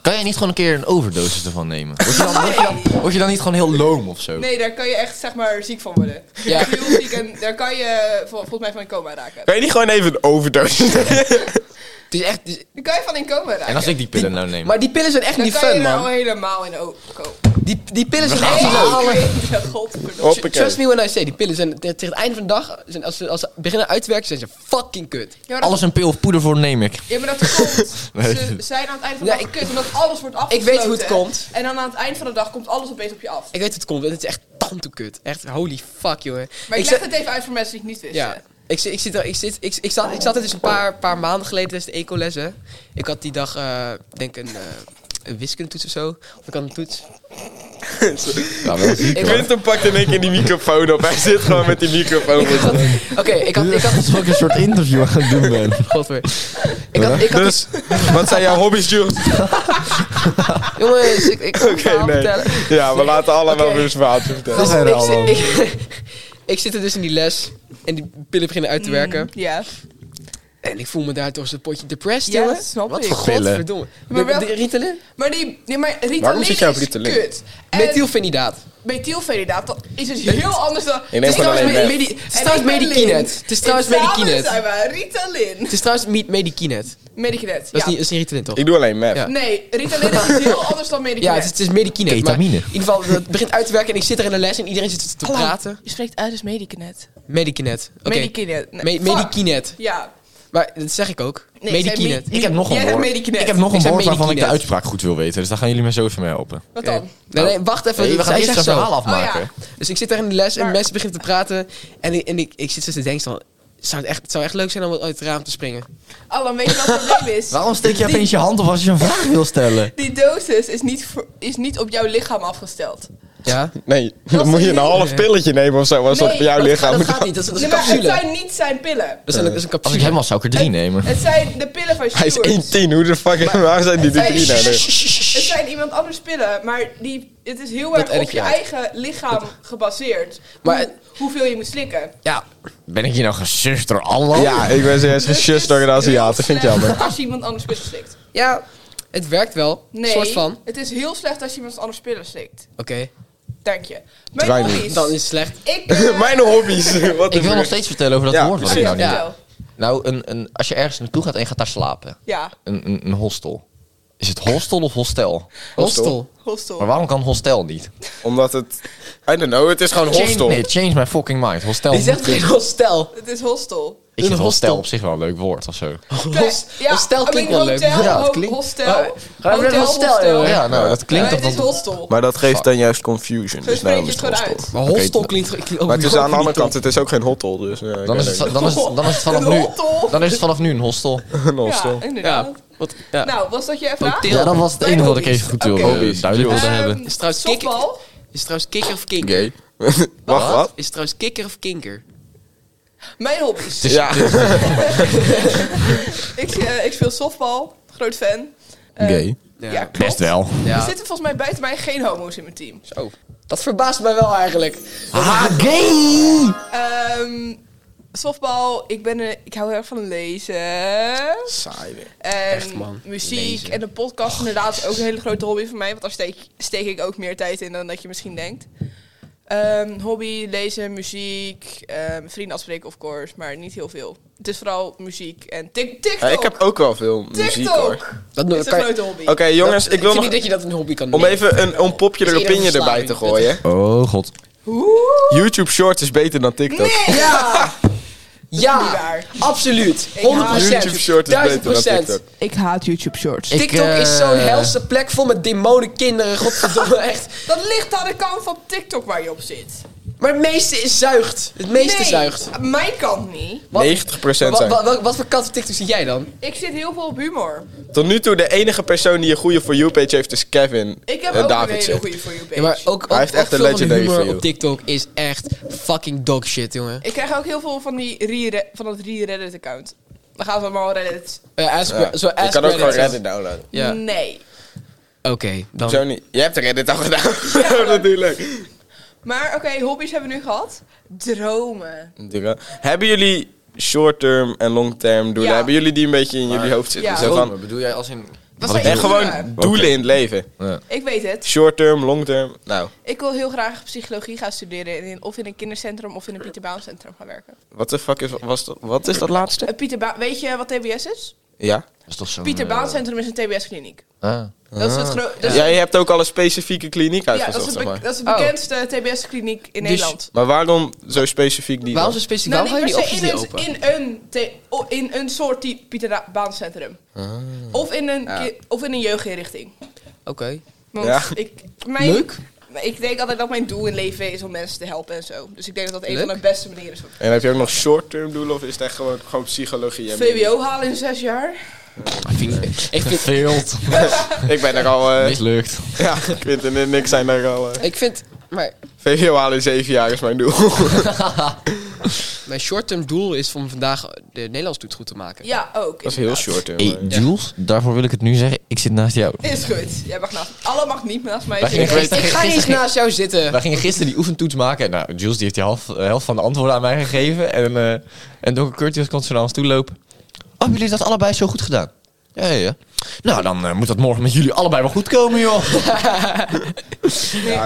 Speaker 4: Kan jij niet gewoon een keer een overdosis ervan nemen? Word je dan, word je dan, word je dan niet gewoon heel loom of zo?
Speaker 1: Nee, daar kan je echt zeg maar ziek van worden.
Speaker 2: Ja.
Speaker 1: Heel ziek en daar kan je vol- volgens mij van in coma raken.
Speaker 3: Kan je niet gewoon even een overdosis
Speaker 2: Het is echt, het is-
Speaker 1: Daar kan je van in coma raken.
Speaker 4: En als ik die pillen nou neem?
Speaker 2: maar die pillen zijn echt
Speaker 1: dan
Speaker 2: niet
Speaker 1: kan je nou
Speaker 2: fun,
Speaker 1: er al
Speaker 2: man.
Speaker 1: helemaal in o- komen.
Speaker 2: Die, die pillen zijn echt
Speaker 1: Hey,
Speaker 2: niet leuk.
Speaker 1: ik weet het, godverdomme.
Speaker 3: Hoppakee.
Speaker 2: Trust me when I say, die pillen zijn te- tegen het einde van de dag, zijn, als, ze, als ze beginnen uit te werken, zijn ze fucking kut.
Speaker 1: Ja, maar dat-
Speaker 4: Alles een pil of poeder voor neem ik.
Speaker 1: Ja, maar dat komt.
Speaker 4: Nee.
Speaker 1: Ze zijn aan het eind van de
Speaker 2: Ja,
Speaker 1: dag
Speaker 2: ik-
Speaker 1: kut, omdat alles wordt afgesloten.
Speaker 2: weet hoe het komt.
Speaker 1: En dan aan het eind van de dag komt alles opeens op je af.
Speaker 2: Ik weet hoe het komt, het is echt daarom te kut. Echt, holy fuck, jongen.
Speaker 1: Maar ik,
Speaker 2: Ik
Speaker 1: leg
Speaker 2: zat-
Speaker 1: het even uit voor mensen die het niet wisten.
Speaker 2: Ja. Ik, zit- ik, zit, er- ik, zit, ik, ik, zat, ik zat er dus een paar, paar maanden geleden tijdens de ecolessen. Ik had die dag, eh, denk een, eh een wiskundetoets of zo. Of ik had een toets.
Speaker 4: Nou, wel ziek,
Speaker 2: Ik-
Speaker 4: hoor.
Speaker 3: Quinten pakt in één keer die microfoon op. Hij zit gewoon met die microfoon. voor zijn neus.
Speaker 2: Oké, ik had... Ik had,
Speaker 4: alsof ik een soort interview aan het doen ben.
Speaker 2: Godver. Ik had, ik had
Speaker 3: Dus, wat zijn jouw hobby's, Jules?
Speaker 2: Jongens, ik, ik kan het
Speaker 3: Oké,
Speaker 2: verhaal
Speaker 3: nee.
Speaker 2: vertellen.
Speaker 3: Ja, we laten allemaal
Speaker 2: Oké. Dus-
Speaker 3: weer zijn verhaaltje vertellen.
Speaker 4: Dat is
Speaker 2: ik,
Speaker 4: helemaal
Speaker 2: zit- ik, ik zit er dus in die les. En die pillen beginnen
Speaker 1: Mm.
Speaker 2: uit te werken.
Speaker 1: Ja.
Speaker 2: En ik voel me daar toch eens een potje depressed,
Speaker 1: Ja,
Speaker 2: jongen.
Speaker 1: dat snap
Speaker 2: Wat
Speaker 1: ik.
Speaker 2: voor godverdomme.
Speaker 1: Maar
Speaker 2: De-
Speaker 1: wel-
Speaker 2: de Ritalin?
Speaker 1: Maar, die, nee, maar Ritalin
Speaker 3: Waarom zit jij op
Speaker 1: is
Speaker 3: Ritalin?
Speaker 1: kut. En
Speaker 2: Methylfenidaat.
Speaker 1: methylfenidaat, dat is dus heel anders dan...
Speaker 3: Ik neem
Speaker 2: Het is
Speaker 3: gewoon
Speaker 2: trouwens
Speaker 3: alleen
Speaker 2: me-
Speaker 3: weg.
Speaker 2: medi- Het is
Speaker 1: En
Speaker 2: trouwens
Speaker 1: ik ben
Speaker 2: Medikinet.
Speaker 1: Lin.
Speaker 2: Het is trouwens
Speaker 1: En samen
Speaker 2: Medikinet.
Speaker 1: zijn we Ritalin.
Speaker 2: Het is trouwens niet Medikinet.
Speaker 1: Medikinet,
Speaker 2: Dat is
Speaker 1: ja.
Speaker 2: niet dat is niet Ritalin, toch?
Speaker 3: Ik doe alleen meth.
Speaker 2: Ja.
Speaker 1: Nee, Ritalin is iets heel anders dan Medikinet.
Speaker 2: Ja, het is, het is Medikinet. maar
Speaker 4: Ketamine.
Speaker 2: in ieder geval, het begint uit te werken en ik zit er in de les en iedereen zit te
Speaker 1: Hallo,
Speaker 2: praten.
Speaker 1: Je spreekt uit als Medikinet.
Speaker 2: Medikinet. Oké.
Speaker 1: Medikinet. nee,
Speaker 2: Me-
Speaker 1: fuck.
Speaker 2: Medikinet.
Speaker 1: Ja.
Speaker 2: Maar dat zeg ik ook.
Speaker 1: Nee, ik zei
Speaker 2: Medikinet.
Speaker 1: med-
Speaker 4: Ik heb nog
Speaker 1: Jij
Speaker 4: een
Speaker 1: hebt
Speaker 4: woord.
Speaker 1: Medikinet.
Speaker 4: Ik heb nog
Speaker 2: Ik
Speaker 4: een
Speaker 2: zei
Speaker 4: woord waarvan ik de
Speaker 2: Medikinet.
Speaker 4: uitspraak goed wil weten. Dus daar gaan jullie me zo even mee helpen.
Speaker 1: Wat
Speaker 2: Oké.
Speaker 1: dan?
Speaker 2: Nee, nee, wacht even.
Speaker 4: Nee, we gaan
Speaker 2: Zij
Speaker 4: eerst
Speaker 2: zegt
Speaker 4: het verhaal
Speaker 2: zo.
Speaker 4: afmaken.
Speaker 1: Oh
Speaker 2: Dus ik zit daar in de les en
Speaker 1: Maar-
Speaker 2: mensen beginnen te praten. En ik, en ik, ik zit zo te denken van... Zou het, echt, het zou echt leuk zijn om uit het raam te springen.
Speaker 1: Alan, weet je wat het probleem is?
Speaker 4: Waarom steek je opeens je hand op als je een vraag wil stellen?
Speaker 1: Die dosis is niet, voor- is niet op jouw lichaam afgesteld.
Speaker 2: Ja?
Speaker 3: Nee,
Speaker 1: Dat
Speaker 3: dan
Speaker 1: is
Speaker 3: moet je een
Speaker 1: niet-
Speaker 3: half pilletje nemen of zo. Als
Speaker 1: Nee,
Speaker 3: dat bij jouw
Speaker 2: dat,
Speaker 3: lichaam
Speaker 2: gaat- dat
Speaker 3: moet.
Speaker 2: gaat niet. Dat is, dat is
Speaker 1: Nee,
Speaker 2: een
Speaker 1: maar het
Speaker 2: capsule.
Speaker 1: zijn niet zijn pillen.
Speaker 2: Dat is een, dat is een
Speaker 4: Als
Speaker 2: capsule.
Speaker 4: ik hem was, zou ik er drie nemen.
Speaker 1: Het zijn de pillen van
Speaker 3: Hij is
Speaker 1: Stuart.
Speaker 3: 1,10. Hoe de fuck waar zijn die
Speaker 1: Hey,
Speaker 3: drie nou?
Speaker 1: shh,
Speaker 3: Nee.
Speaker 1: Het zijn iemand anders pillen, maar die, het is heel erg op
Speaker 2: edit je
Speaker 1: je
Speaker 2: uit.
Speaker 1: eigen lichaam gebaseerd.
Speaker 2: Maar-
Speaker 1: hoe, hoeveel je moet slikken.
Speaker 2: Ja.
Speaker 4: Ben ik hier nou gesuft door Allah?
Speaker 3: Ja, ik ben serieus
Speaker 1: Dus
Speaker 3: geschust door een
Speaker 1: het is heel
Speaker 3: Aziat. Dat vind ik
Speaker 1: slecht
Speaker 3: jammer.
Speaker 1: Als je iemand anders pillen slikt.
Speaker 2: Ja. Het werkt wel.
Speaker 1: Nee,
Speaker 2: soort van. Oké.
Speaker 1: het is heel slecht als je iemand anders pillen slikt. Dank je. Mijn
Speaker 3: Dweilen.
Speaker 1: hobby's.
Speaker 2: Dan is het slecht.
Speaker 1: Ik, eh,
Speaker 3: Mijn hobby's. Wat
Speaker 4: Ik
Speaker 3: de
Speaker 4: wil
Speaker 3: fuck?
Speaker 4: nog steeds vertellen over dat
Speaker 3: Ja,
Speaker 4: woord. Wat ik
Speaker 1: ja,
Speaker 4: nou, niet-
Speaker 1: vertel.
Speaker 4: nou een, een, als je ergens naartoe gaat en je gaat daar slapen.
Speaker 1: ja,
Speaker 4: Een, een, een hostel. Is het hostel of hostel?
Speaker 2: Hostel.
Speaker 1: hostel.
Speaker 4: Maar waarom kan hostel niet?
Speaker 3: Omdat het... I don't know, het is gewoon hostel.
Speaker 4: Change, nee, change my fucking mind. Hostel.
Speaker 2: Die zegt
Speaker 4: moet-
Speaker 2: geen hostel.
Speaker 1: Het is hostel.
Speaker 4: ik vind
Speaker 2: een hostel.
Speaker 4: hostel op zich wel een leuk woord of zo.
Speaker 2: Host, Hostel
Speaker 1: I mean,
Speaker 2: klinkt Oh, wel leuk.
Speaker 1: hotel,
Speaker 4: Ja, het
Speaker 1: ho-
Speaker 4: klinkt-
Speaker 1: Hostel.
Speaker 2: Maar- Ga even naar het hostel, joh.
Speaker 4: Ja, nou, dat klinkt
Speaker 1: Maar
Speaker 4: toch
Speaker 1: het is
Speaker 4: wel-
Speaker 1: hostel.
Speaker 3: Maar dat geeft dan juist confusion.
Speaker 1: Zo
Speaker 3: Dus
Speaker 1: spreek
Speaker 3: daarom
Speaker 1: je
Speaker 3: is
Speaker 1: het
Speaker 3: het
Speaker 1: gewoon
Speaker 3: hostel.
Speaker 1: uit.
Speaker 2: Maar hostel klinkt... klinkt ook
Speaker 3: nou- Maar het is
Speaker 2: gewoon
Speaker 3: aan de andere
Speaker 2: niet
Speaker 3: kant, het is ook geen hotel. Dus eh,
Speaker 4: Dan is, het, dan, is, dan is het vanaf
Speaker 1: Een
Speaker 4: nu,
Speaker 1: hostel?
Speaker 4: dan is het vanaf nu een hostel.
Speaker 3: een hostel.
Speaker 1: Ja, inderdaad.
Speaker 2: Ja. Wat, ja.
Speaker 1: Nou, was dat je vraag?
Speaker 4: Ja, dat was het
Speaker 1: Mijn
Speaker 4: enige wat ik
Speaker 1: hobby's.
Speaker 4: even goed wilde,
Speaker 1: Oké.
Speaker 3: Hobby's.
Speaker 4: eh, duidelijk wilde
Speaker 1: Ehm,
Speaker 4: hebben.
Speaker 2: Is trouwens kikker...
Speaker 1: softbal?
Speaker 2: Is trouwens kikker of kinker?
Speaker 3: Gay. Wacht, wat?
Speaker 2: Is trouwens kikker of kinker?
Speaker 1: Mijn hobby's.
Speaker 3: Ja.
Speaker 1: Ik, eh, ik speel softbal. Groot fan. Eh, Ja, klopt.
Speaker 4: Best wel.
Speaker 1: Er
Speaker 2: Ja. Oh.
Speaker 1: zitten volgens mij buiten mij geen homo's in mijn team.
Speaker 2: Zo. Dat verbaast mij wel eigenlijk.
Speaker 4: Ah, gay!
Speaker 1: Ehm, softbal, ik, ben een, ik hou heel erg van lezen.
Speaker 3: Saai weer.
Speaker 1: En
Speaker 2: Echt, man.
Speaker 1: muziek
Speaker 2: Lezen.
Speaker 1: en een podcast inderdaad ook een hele grote hobby voor mij. Want daar steek, steek ik ook meer tijd in dan dat je misschien denkt. Ehm, hobby, lezen, muziek, ehm, vrienden afspreken of course, maar niet heel veel. Het is vooral muziek en tik TikTok.
Speaker 3: Ja, ik heb ook wel veel muziek
Speaker 1: TikTok
Speaker 3: hoor. Oké
Speaker 2: Dat
Speaker 1: is een
Speaker 2: kan je-
Speaker 1: grote hobby.
Speaker 3: jongens,
Speaker 2: dat-
Speaker 3: ik wil
Speaker 2: vind niet
Speaker 3: nog...
Speaker 2: dat je dat een hobby kan
Speaker 3: Om
Speaker 2: noemen.
Speaker 3: even een onpopular
Speaker 2: Is iedereen
Speaker 3: opinion
Speaker 2: verslaving?
Speaker 3: erbij te gooien.
Speaker 4: Oh, god.
Speaker 1: Oeh,
Speaker 3: YouTube Shorts is beter dan TikTok.
Speaker 1: nee! Ja! niet
Speaker 2: Ja,
Speaker 1: waar.
Speaker 2: absoluut. 100%.
Speaker 3: YouTube Short is beter dan
Speaker 2: 1000%.
Speaker 3: TikTok.
Speaker 1: Ik haat YouTube Shorts.
Speaker 4: Ik,
Speaker 2: TikTok
Speaker 4: eh,
Speaker 2: is zo'n helse plek vol met demonen kinderen. Godverdomme, echt.
Speaker 1: Dat ligt aan de kant van TikTok waar je op zit.
Speaker 2: Maar het meeste is zuigt. Het meeste
Speaker 1: nee,
Speaker 2: zuigt.
Speaker 1: mijn kant niet.
Speaker 3: 90% zijn.
Speaker 2: Wat, wat, wat, wat voor kant van TikTok zie jij dan?
Speaker 1: Ik zit heel veel op humor.
Speaker 3: Tot nu toe de enige persoon die een goede For You page heeft is Kevin.
Speaker 1: Ik heb
Speaker 3: eh,
Speaker 1: ook een
Speaker 3: Davidson.
Speaker 1: hele goede voor you page.
Speaker 2: Ja, maar ook, ook,
Speaker 3: Hij heeft
Speaker 2: ook
Speaker 3: echt een
Speaker 2: veel van de
Speaker 3: legendary
Speaker 2: humor
Speaker 3: view.
Speaker 2: op TikTok is echt fucking dog shit, jongen.
Speaker 1: Ik krijg ook heel veel van, die re van dat re-Reddit-account. Dan gaan ze allemaal Reddit.
Speaker 2: Eh, ask,
Speaker 3: Ja.
Speaker 2: zo,
Speaker 3: Je
Speaker 2: ask
Speaker 3: kan ook gewoon
Speaker 2: Reddit.
Speaker 3: Reddit downloaden.
Speaker 2: Ja.
Speaker 1: Nee.
Speaker 2: Oké, dan.
Speaker 3: Zo niet. Je hebt Reddit al gedaan. Natuurlijk.
Speaker 1: Maar oké, hobby's hebben we nu gehad. Dromen.
Speaker 3: Hebben jullie short-term en long-term doelen?
Speaker 1: Ja.
Speaker 3: Hebben jullie die een beetje in jullie hoofd zitten?
Speaker 1: Ja.
Speaker 2: Oh,
Speaker 3: Zo van,
Speaker 4: bedoel jij als in...
Speaker 1: Wat
Speaker 4: Wat
Speaker 1: zijn
Speaker 4: ik
Speaker 3: en
Speaker 1: je
Speaker 3: gewoon
Speaker 1: doelen?
Speaker 3: doelen in het leven.
Speaker 1: Ik weet het.
Speaker 3: Short-term, long-term. Nou,
Speaker 1: Ik wil heel graag psychologie gaan studeren. en in- Of in een kindercentrum of in een Pieter Baan centrum gaan werken.
Speaker 3: wat de fuck is, was dat, wat is dat laatste?
Speaker 1: Een Pieter Baan, weet je wat TBS is?
Speaker 3: Ja?
Speaker 4: Dat is toch zo'n...
Speaker 1: Pieter
Speaker 4: eh,
Speaker 1: Baan centrum is een TBS-kliniek.
Speaker 4: ah.
Speaker 1: Dat is het grote. dat is-
Speaker 3: Jij hebt ook al een specifieke kliniek
Speaker 1: Dus- ja, dat
Speaker 3: uitgezocht,
Speaker 1: is, het
Speaker 3: zeg
Speaker 1: be-
Speaker 3: maar.
Speaker 1: dat is de
Speaker 2: Oh.
Speaker 1: bekendste TBS-kliniek in
Speaker 2: Dus-
Speaker 1: Nederland.
Speaker 3: Maar waarom zo specifiek die
Speaker 2: Waarom zo
Speaker 3: dan?
Speaker 2: specifiek?
Speaker 1: Nou,
Speaker 2: waarom
Speaker 1: niet
Speaker 2: hou
Speaker 1: per
Speaker 2: je
Speaker 1: se
Speaker 2: die
Speaker 1: in
Speaker 2: opties
Speaker 1: een,
Speaker 2: niet open?
Speaker 1: in, een the- o- in een soort die Pieter Ra- Baancentrum.
Speaker 3: Ah.
Speaker 1: Of, in een ki- of in een jeugdinrichting.
Speaker 2: Oké.
Speaker 1: Want
Speaker 3: Ja.
Speaker 1: ik, mijn,
Speaker 2: Leuk.
Speaker 1: Maar ik denk altijd dat mijn doel in leven is om mensen te helpen en zo. Dus ik denk dat dat een
Speaker 2: Leuk.
Speaker 1: van de beste manieren is.
Speaker 3: En heb je ook nog short-term doelen of is het echt gewoon, gewoon psychologie? en
Speaker 1: VWO halen in zes jaar.
Speaker 2: Ik vind, ik, vind,
Speaker 4: Gefaild.
Speaker 3: Ik ben er al... eh,
Speaker 4: Mislukt.
Speaker 3: ja, Quinten en ik zijn er al... eh,
Speaker 2: ik vind, maar
Speaker 3: VWO halen in zeven jaar is mijn doel.
Speaker 2: mijn short-term doel is om vandaag de Nederlands toets goed te maken.
Speaker 1: Ja, ook.
Speaker 3: Dat is heel
Speaker 1: inderdaad.
Speaker 3: short-term. eh.
Speaker 4: Hey, Jules, daarvoor wil ik het nu zeggen. Ik zit naast jou.
Speaker 1: Is goed. Jij mag naast. Alle mag niet naast mij
Speaker 4: Wij
Speaker 1: zitten.
Speaker 4: gingen
Speaker 2: Ik ga niet eens naast jou zitten.
Speaker 4: Wij gingen gisteren die oefentoets maken. En nou, Jules die heeft die half, eh, helft van de antwoorden aan mij gegeven. En, eh en Dr. Curtis kon ze naar ons toe lopen. Oh, hebben jullie dat allebei zo goed gedaan? Ja, ja, ja. Nou, dan eh, moet dat morgen met jullie allebei wel goed komen, joh.
Speaker 3: Ja,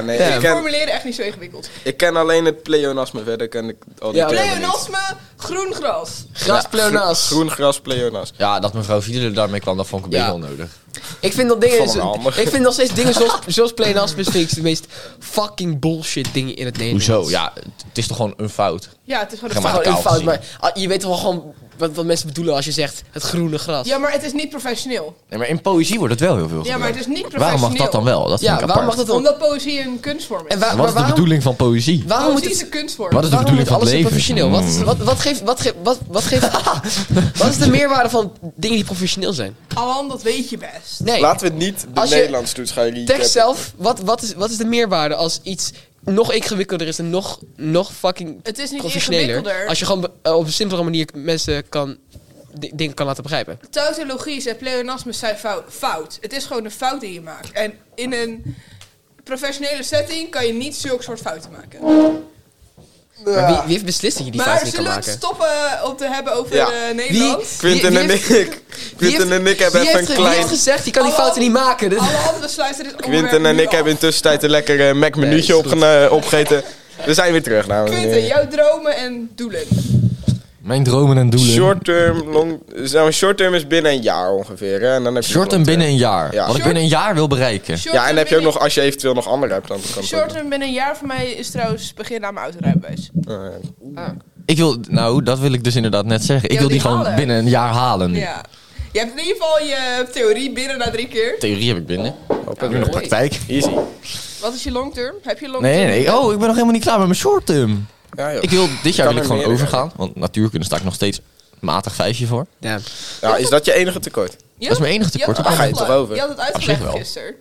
Speaker 3: nee,
Speaker 1: Ik
Speaker 3: ik,
Speaker 1: vind
Speaker 3: ken,
Speaker 1: formuleren echt niet zo ingewikkeld.
Speaker 3: ik ken alleen het pleonasme, verder ken ik al die
Speaker 2: Ja,
Speaker 3: termen Oh, niet.
Speaker 1: Pleonasme, groen gras.
Speaker 2: Gras pleonaas.
Speaker 3: Groen gras, pleonas.
Speaker 4: Ja, dat mevrouw Fiedler daarmee kwam, dat vond ik een
Speaker 2: Ja.
Speaker 4: beetje onnodig.
Speaker 2: Ik vind dat dingen.
Speaker 3: Vond me handig.
Speaker 2: ik vind nog steeds dingen zoals, zoals pleonasmus vind ik de meest fucking bullshit dingen in het Nederlands.
Speaker 4: Hoezo? Ja, het- het is toch gewoon een fout?
Speaker 1: Ja, het is gewoon een
Speaker 4: Ga maar.
Speaker 1: fout.
Speaker 2: Gewoon een fout,
Speaker 4: gezien.
Speaker 2: maar ah, je weet wel gewoon wat, wat mensen bedoelen als je zegt het groene gras.
Speaker 1: Ja, maar het is niet professioneel.
Speaker 4: Nee, maar in poëzie wordt het wel heel veel
Speaker 1: Ja, maar het is niet professioneel.
Speaker 4: Waarom mag dat dan wel? Dat
Speaker 2: Ja,
Speaker 4: vind ik
Speaker 2: waarom
Speaker 4: apart.
Speaker 2: mag dat dan?
Speaker 1: Omdat poëzie een kunstvorm is.
Speaker 2: En waar-
Speaker 4: Wat is de
Speaker 2: waarom-
Speaker 4: bedoeling van poëzie?
Speaker 2: Waarom moet
Speaker 1: Poëzie is
Speaker 2: het
Speaker 1: een kunstvorm.
Speaker 4: Wat is de
Speaker 2: Waarom moet
Speaker 4: bedoeling van
Speaker 2: alles
Speaker 4: het
Speaker 2: zo
Speaker 4: leven? Hmm.
Speaker 2: professioneel? Wat, is- wat, wat geeft, wat, geeft, wat, wat, geeft, wat is de meerwaarde van dingen die professioneel zijn?
Speaker 1: Alan, dat weet je best.
Speaker 2: Nee,
Speaker 3: Laten we het niet de
Speaker 2: Als je-
Speaker 3: Nederlands toets gaan recappen.
Speaker 2: tekst zelf, wat, wat, is, wat is de meerwaarde als iets nog ingewikkelder is en nog, nog fucking
Speaker 1: Het is niet
Speaker 2: professioneler?
Speaker 1: ingewikkelder.
Speaker 2: Als je gewoon be- eh, op een simpelere manier mensen kan, di- dingen kan laten begrijpen.
Speaker 1: Tautologies en pleonasmes zijn fou- fout. Het is gewoon een fout die je maakt. En in een professionele setting kan je niet zulke soort fouten maken.
Speaker 2: Maar wie, wie heeft beslist dat je die fout
Speaker 1: maar
Speaker 2: niet kan
Speaker 1: zullen we het
Speaker 2: maken?
Speaker 1: stoppen om te hebben over
Speaker 3: Ja.
Speaker 1: eh, Nederland?
Speaker 3: Quinten
Speaker 2: Wie-
Speaker 3: en
Speaker 2: wie
Speaker 3: ik.
Speaker 2: Wie heeft-
Speaker 3: Quinten en ik hebben
Speaker 2: wie
Speaker 3: even
Speaker 2: heeft- Wie
Speaker 3: een klein. Oh.
Speaker 2: heeft gezegd, je kan die
Speaker 1: Hallo?
Speaker 2: fouten niet maken? Dit-
Speaker 1: Alle andere besluiten dit onderwerp
Speaker 3: Quinten en
Speaker 1: nu
Speaker 3: ik
Speaker 1: af.
Speaker 3: hebben intussen tijd een lekker eh, Mac-minuutje
Speaker 2: Nee, is goed.
Speaker 3: opgena- opgegeten. We zijn weer terug, dames en
Speaker 1: Quinten,
Speaker 3: heren.
Speaker 1: jouw dromen en doelen.
Speaker 4: Mijn dromen en doelen.
Speaker 3: Short-term, long... Nou, short-term is binnen een jaar ongeveer. Hè? En dan heb je
Speaker 4: Short en
Speaker 3: long-term.
Speaker 4: binnen een jaar.
Speaker 3: Ja.
Speaker 4: Wat ik
Speaker 1: Short-
Speaker 4: binnen een jaar wil bereiken.
Speaker 1: Short
Speaker 3: Ja, en dan heb je ook
Speaker 1: binnen-
Speaker 3: nog, als je eventueel nog andere hebt, dan kan het ook.
Speaker 1: Short-term binnen een jaar van mij is trouwens begin aan mijn autorijbewijs.
Speaker 3: Eh,
Speaker 4: Ik wil, nou, dat wil ik dus inderdaad net zeggen. Ik
Speaker 1: Ja,
Speaker 4: wil
Speaker 1: die
Speaker 4: die gewoon
Speaker 1: halen.
Speaker 4: binnen een jaar halen.
Speaker 1: Ja. Je hebt in ieder geval je theorie binnen na drie keer.
Speaker 4: Theorie heb ik binnen.
Speaker 3: hop,
Speaker 4: Ik heb nog
Speaker 2: mooi.
Speaker 4: praktijk.
Speaker 3: Easy.
Speaker 1: Wat is je long-term? Heb je long-term?
Speaker 4: Nee, nee, nee. Oh, ik ben nog helemaal niet klaar met mijn short term.
Speaker 3: Ja, joh.
Speaker 4: Ik wil dit jaar
Speaker 3: Kan
Speaker 4: wil ik
Speaker 3: er
Speaker 4: gewoon
Speaker 3: meer
Speaker 4: overgaan. Want natuurkunde sta ik nog steeds matig vijfje voor.
Speaker 2: Ja.
Speaker 3: Ja, is dat je enige tekort?
Speaker 1: Je
Speaker 4: Dat is
Speaker 1: had-
Speaker 4: mijn enige
Speaker 1: je had
Speaker 4: tekort.
Speaker 1: het
Speaker 3: Daar ga je toch
Speaker 1: uitgelegd-
Speaker 3: over?
Speaker 1: Je had het
Speaker 4: zich
Speaker 1: uitgelegd
Speaker 4: wel.
Speaker 1: gisteren.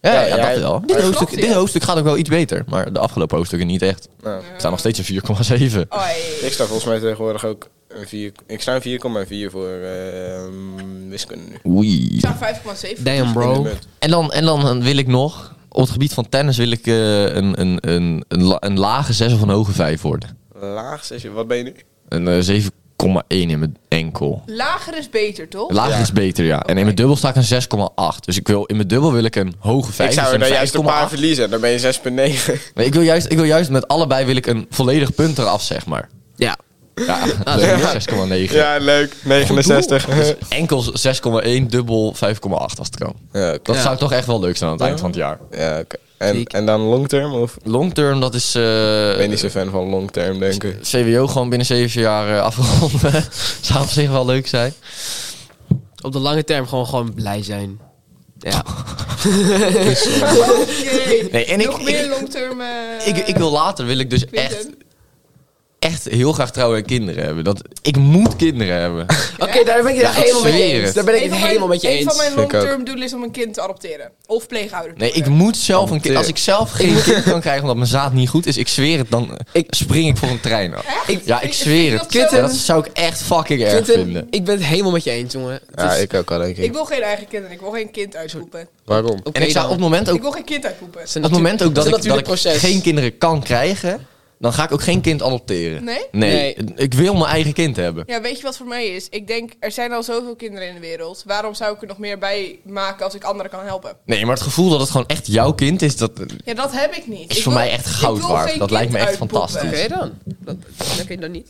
Speaker 4: Ja, ja,
Speaker 3: Ja,
Speaker 4: dat
Speaker 3: jij-
Speaker 4: wel. Dit
Speaker 1: dat
Speaker 4: hoofdstuk,
Speaker 1: klopt,
Speaker 4: dit
Speaker 1: ja.
Speaker 4: hoofdstuk gaat ook wel iets beter. Maar de afgelopen hoofdstukken niet echt.
Speaker 3: Nou,
Speaker 4: Ik sta nog steeds een 4,7.
Speaker 1: Oei.
Speaker 3: ik sta volgens mij tegenwoordig ook een 4. Ik sta een 4,4 voor ehm wiskunde nu.
Speaker 4: Oei.
Speaker 1: Ik zou 5,7.
Speaker 2: Damn, bro.
Speaker 4: En dan, en dan wil ik nog... Op het gebied van tennis wil ik eh, een, een, een, een, la- een lage 6 of een hoge 5 worden.
Speaker 3: Laag zesje, wat ben je nu?
Speaker 4: Een eh, 7,1 in mijn enkel.
Speaker 1: Lager is beter, toch?
Speaker 4: Lager
Speaker 3: Ja.
Speaker 4: is beter, ja. En in mijn dubbel sta ik een 6,8. Dus ik wil, in mijn dubbel wil ik een hoge 5.
Speaker 3: Ik zou er
Speaker 4: dus een
Speaker 3: dan juist een
Speaker 4: 5,8.
Speaker 3: paar verliezen. Dan ben je 6,9.
Speaker 4: Nee, ik wil juist, ik wil juist met allebei wil ik een volledig punt eraf, zeg maar.
Speaker 2: Ja.
Speaker 4: Ja, dat is 6,9.
Speaker 3: Ja, leuk. 69.
Speaker 4: Dus enkel 6,1, dubbel 5,8 als het kan.
Speaker 3: Ja,
Speaker 4: Dat
Speaker 3: oké.
Speaker 4: zou toch echt wel leuk zijn aan het eind van het jaar.
Speaker 3: Ja, oké. en,
Speaker 2: Zeker.
Speaker 3: en dan longterm? Of? Ik
Speaker 4: Long term, dat is eh,
Speaker 3: ben niet zo'n fan van longterm, denk ik.
Speaker 4: CWO gewoon binnen 7 jaar eh, afgerond. zou op zich wel leuk zijn.
Speaker 2: Op de lange term gewoon, gewoon blij zijn. Ja.
Speaker 1: Oké.
Speaker 4: Nee, en ik-
Speaker 1: Nog meer
Speaker 4: ik-
Speaker 1: long-term... eh,
Speaker 4: Ik, ik wil later, wil ik dus
Speaker 1: Quinten.
Speaker 4: echt, echt heel graag trouwen en kinderen hebben. Dat, ik moet kinderen hebben.
Speaker 2: Oké, daar ben ik het
Speaker 4: Ja,
Speaker 2: helemaal mee
Speaker 4: zweer
Speaker 2: eens.
Speaker 4: het.
Speaker 2: Daar ben ik
Speaker 1: Een
Speaker 2: het
Speaker 1: van mijn-
Speaker 2: helemaal met je
Speaker 1: Een van
Speaker 2: eens.
Speaker 1: mijn
Speaker 3: Vind ik ook.
Speaker 1: long-term doelen is om een kind te adopteren. Of pleegouder te
Speaker 4: Nee, ik
Speaker 1: worden.
Speaker 4: moet zelf een kind. Als ik zelf geen kind kan krijgen omdat mijn zaad niet goed is, ik zweer het, dan eh,
Speaker 2: Ik-
Speaker 4: spring ik voor een trein.
Speaker 1: Echt?
Speaker 4: Ja, ik
Speaker 1: Vind-
Speaker 4: zweer
Speaker 1: vind
Speaker 4: het.
Speaker 1: je dat zo?
Speaker 4: Dat zou ik echt fucking erg
Speaker 2: Quinten,
Speaker 4: vinden.
Speaker 2: ik ben het helemaal met je eens, jongen. Het
Speaker 3: Ja,
Speaker 2: is-
Speaker 3: ik ook al, denk ik.
Speaker 1: Ik wil geen eigen kinderen. Ik wil geen kind uitroepen.
Speaker 3: Waarom?
Speaker 2: oké
Speaker 4: En ik zou op
Speaker 2: dan.
Speaker 4: het moment
Speaker 1: Ik
Speaker 4: ook,
Speaker 1: wil geen kind uitroepen.
Speaker 2: Het is een
Speaker 4: op het moment ook
Speaker 2: natuur-
Speaker 4: dat, ik,
Speaker 2: het is een
Speaker 4: dat ik
Speaker 2: natuurlijk proces.
Speaker 4: geen kinderen kan krijgen, dan ga ik ook geen kind adopteren.
Speaker 1: Nee?
Speaker 4: Nee,
Speaker 2: Nee.
Speaker 4: ik wil mijn eigen kind hebben.
Speaker 1: Ja, weet je wat voor mij is? Ik denk, er zijn al zoveel kinderen in de wereld. Waarom zou ik er nog meer bij maken als ik anderen kan helpen?
Speaker 4: Nee, maar het gevoel dat het gewoon echt jouw kind is, dat,
Speaker 1: Ja, dat heb ik niet.
Speaker 4: Is
Speaker 1: Ik
Speaker 4: voor
Speaker 1: wil-
Speaker 4: mij echt
Speaker 1: ik
Speaker 4: goud
Speaker 1: wil
Speaker 4: waard.
Speaker 1: geen
Speaker 4: Dat lijkt me
Speaker 1: kind
Speaker 4: echt
Speaker 1: uitpoepen.
Speaker 4: fantastisch.
Speaker 2: Oké, dan. Dat, dat kan je dan niet.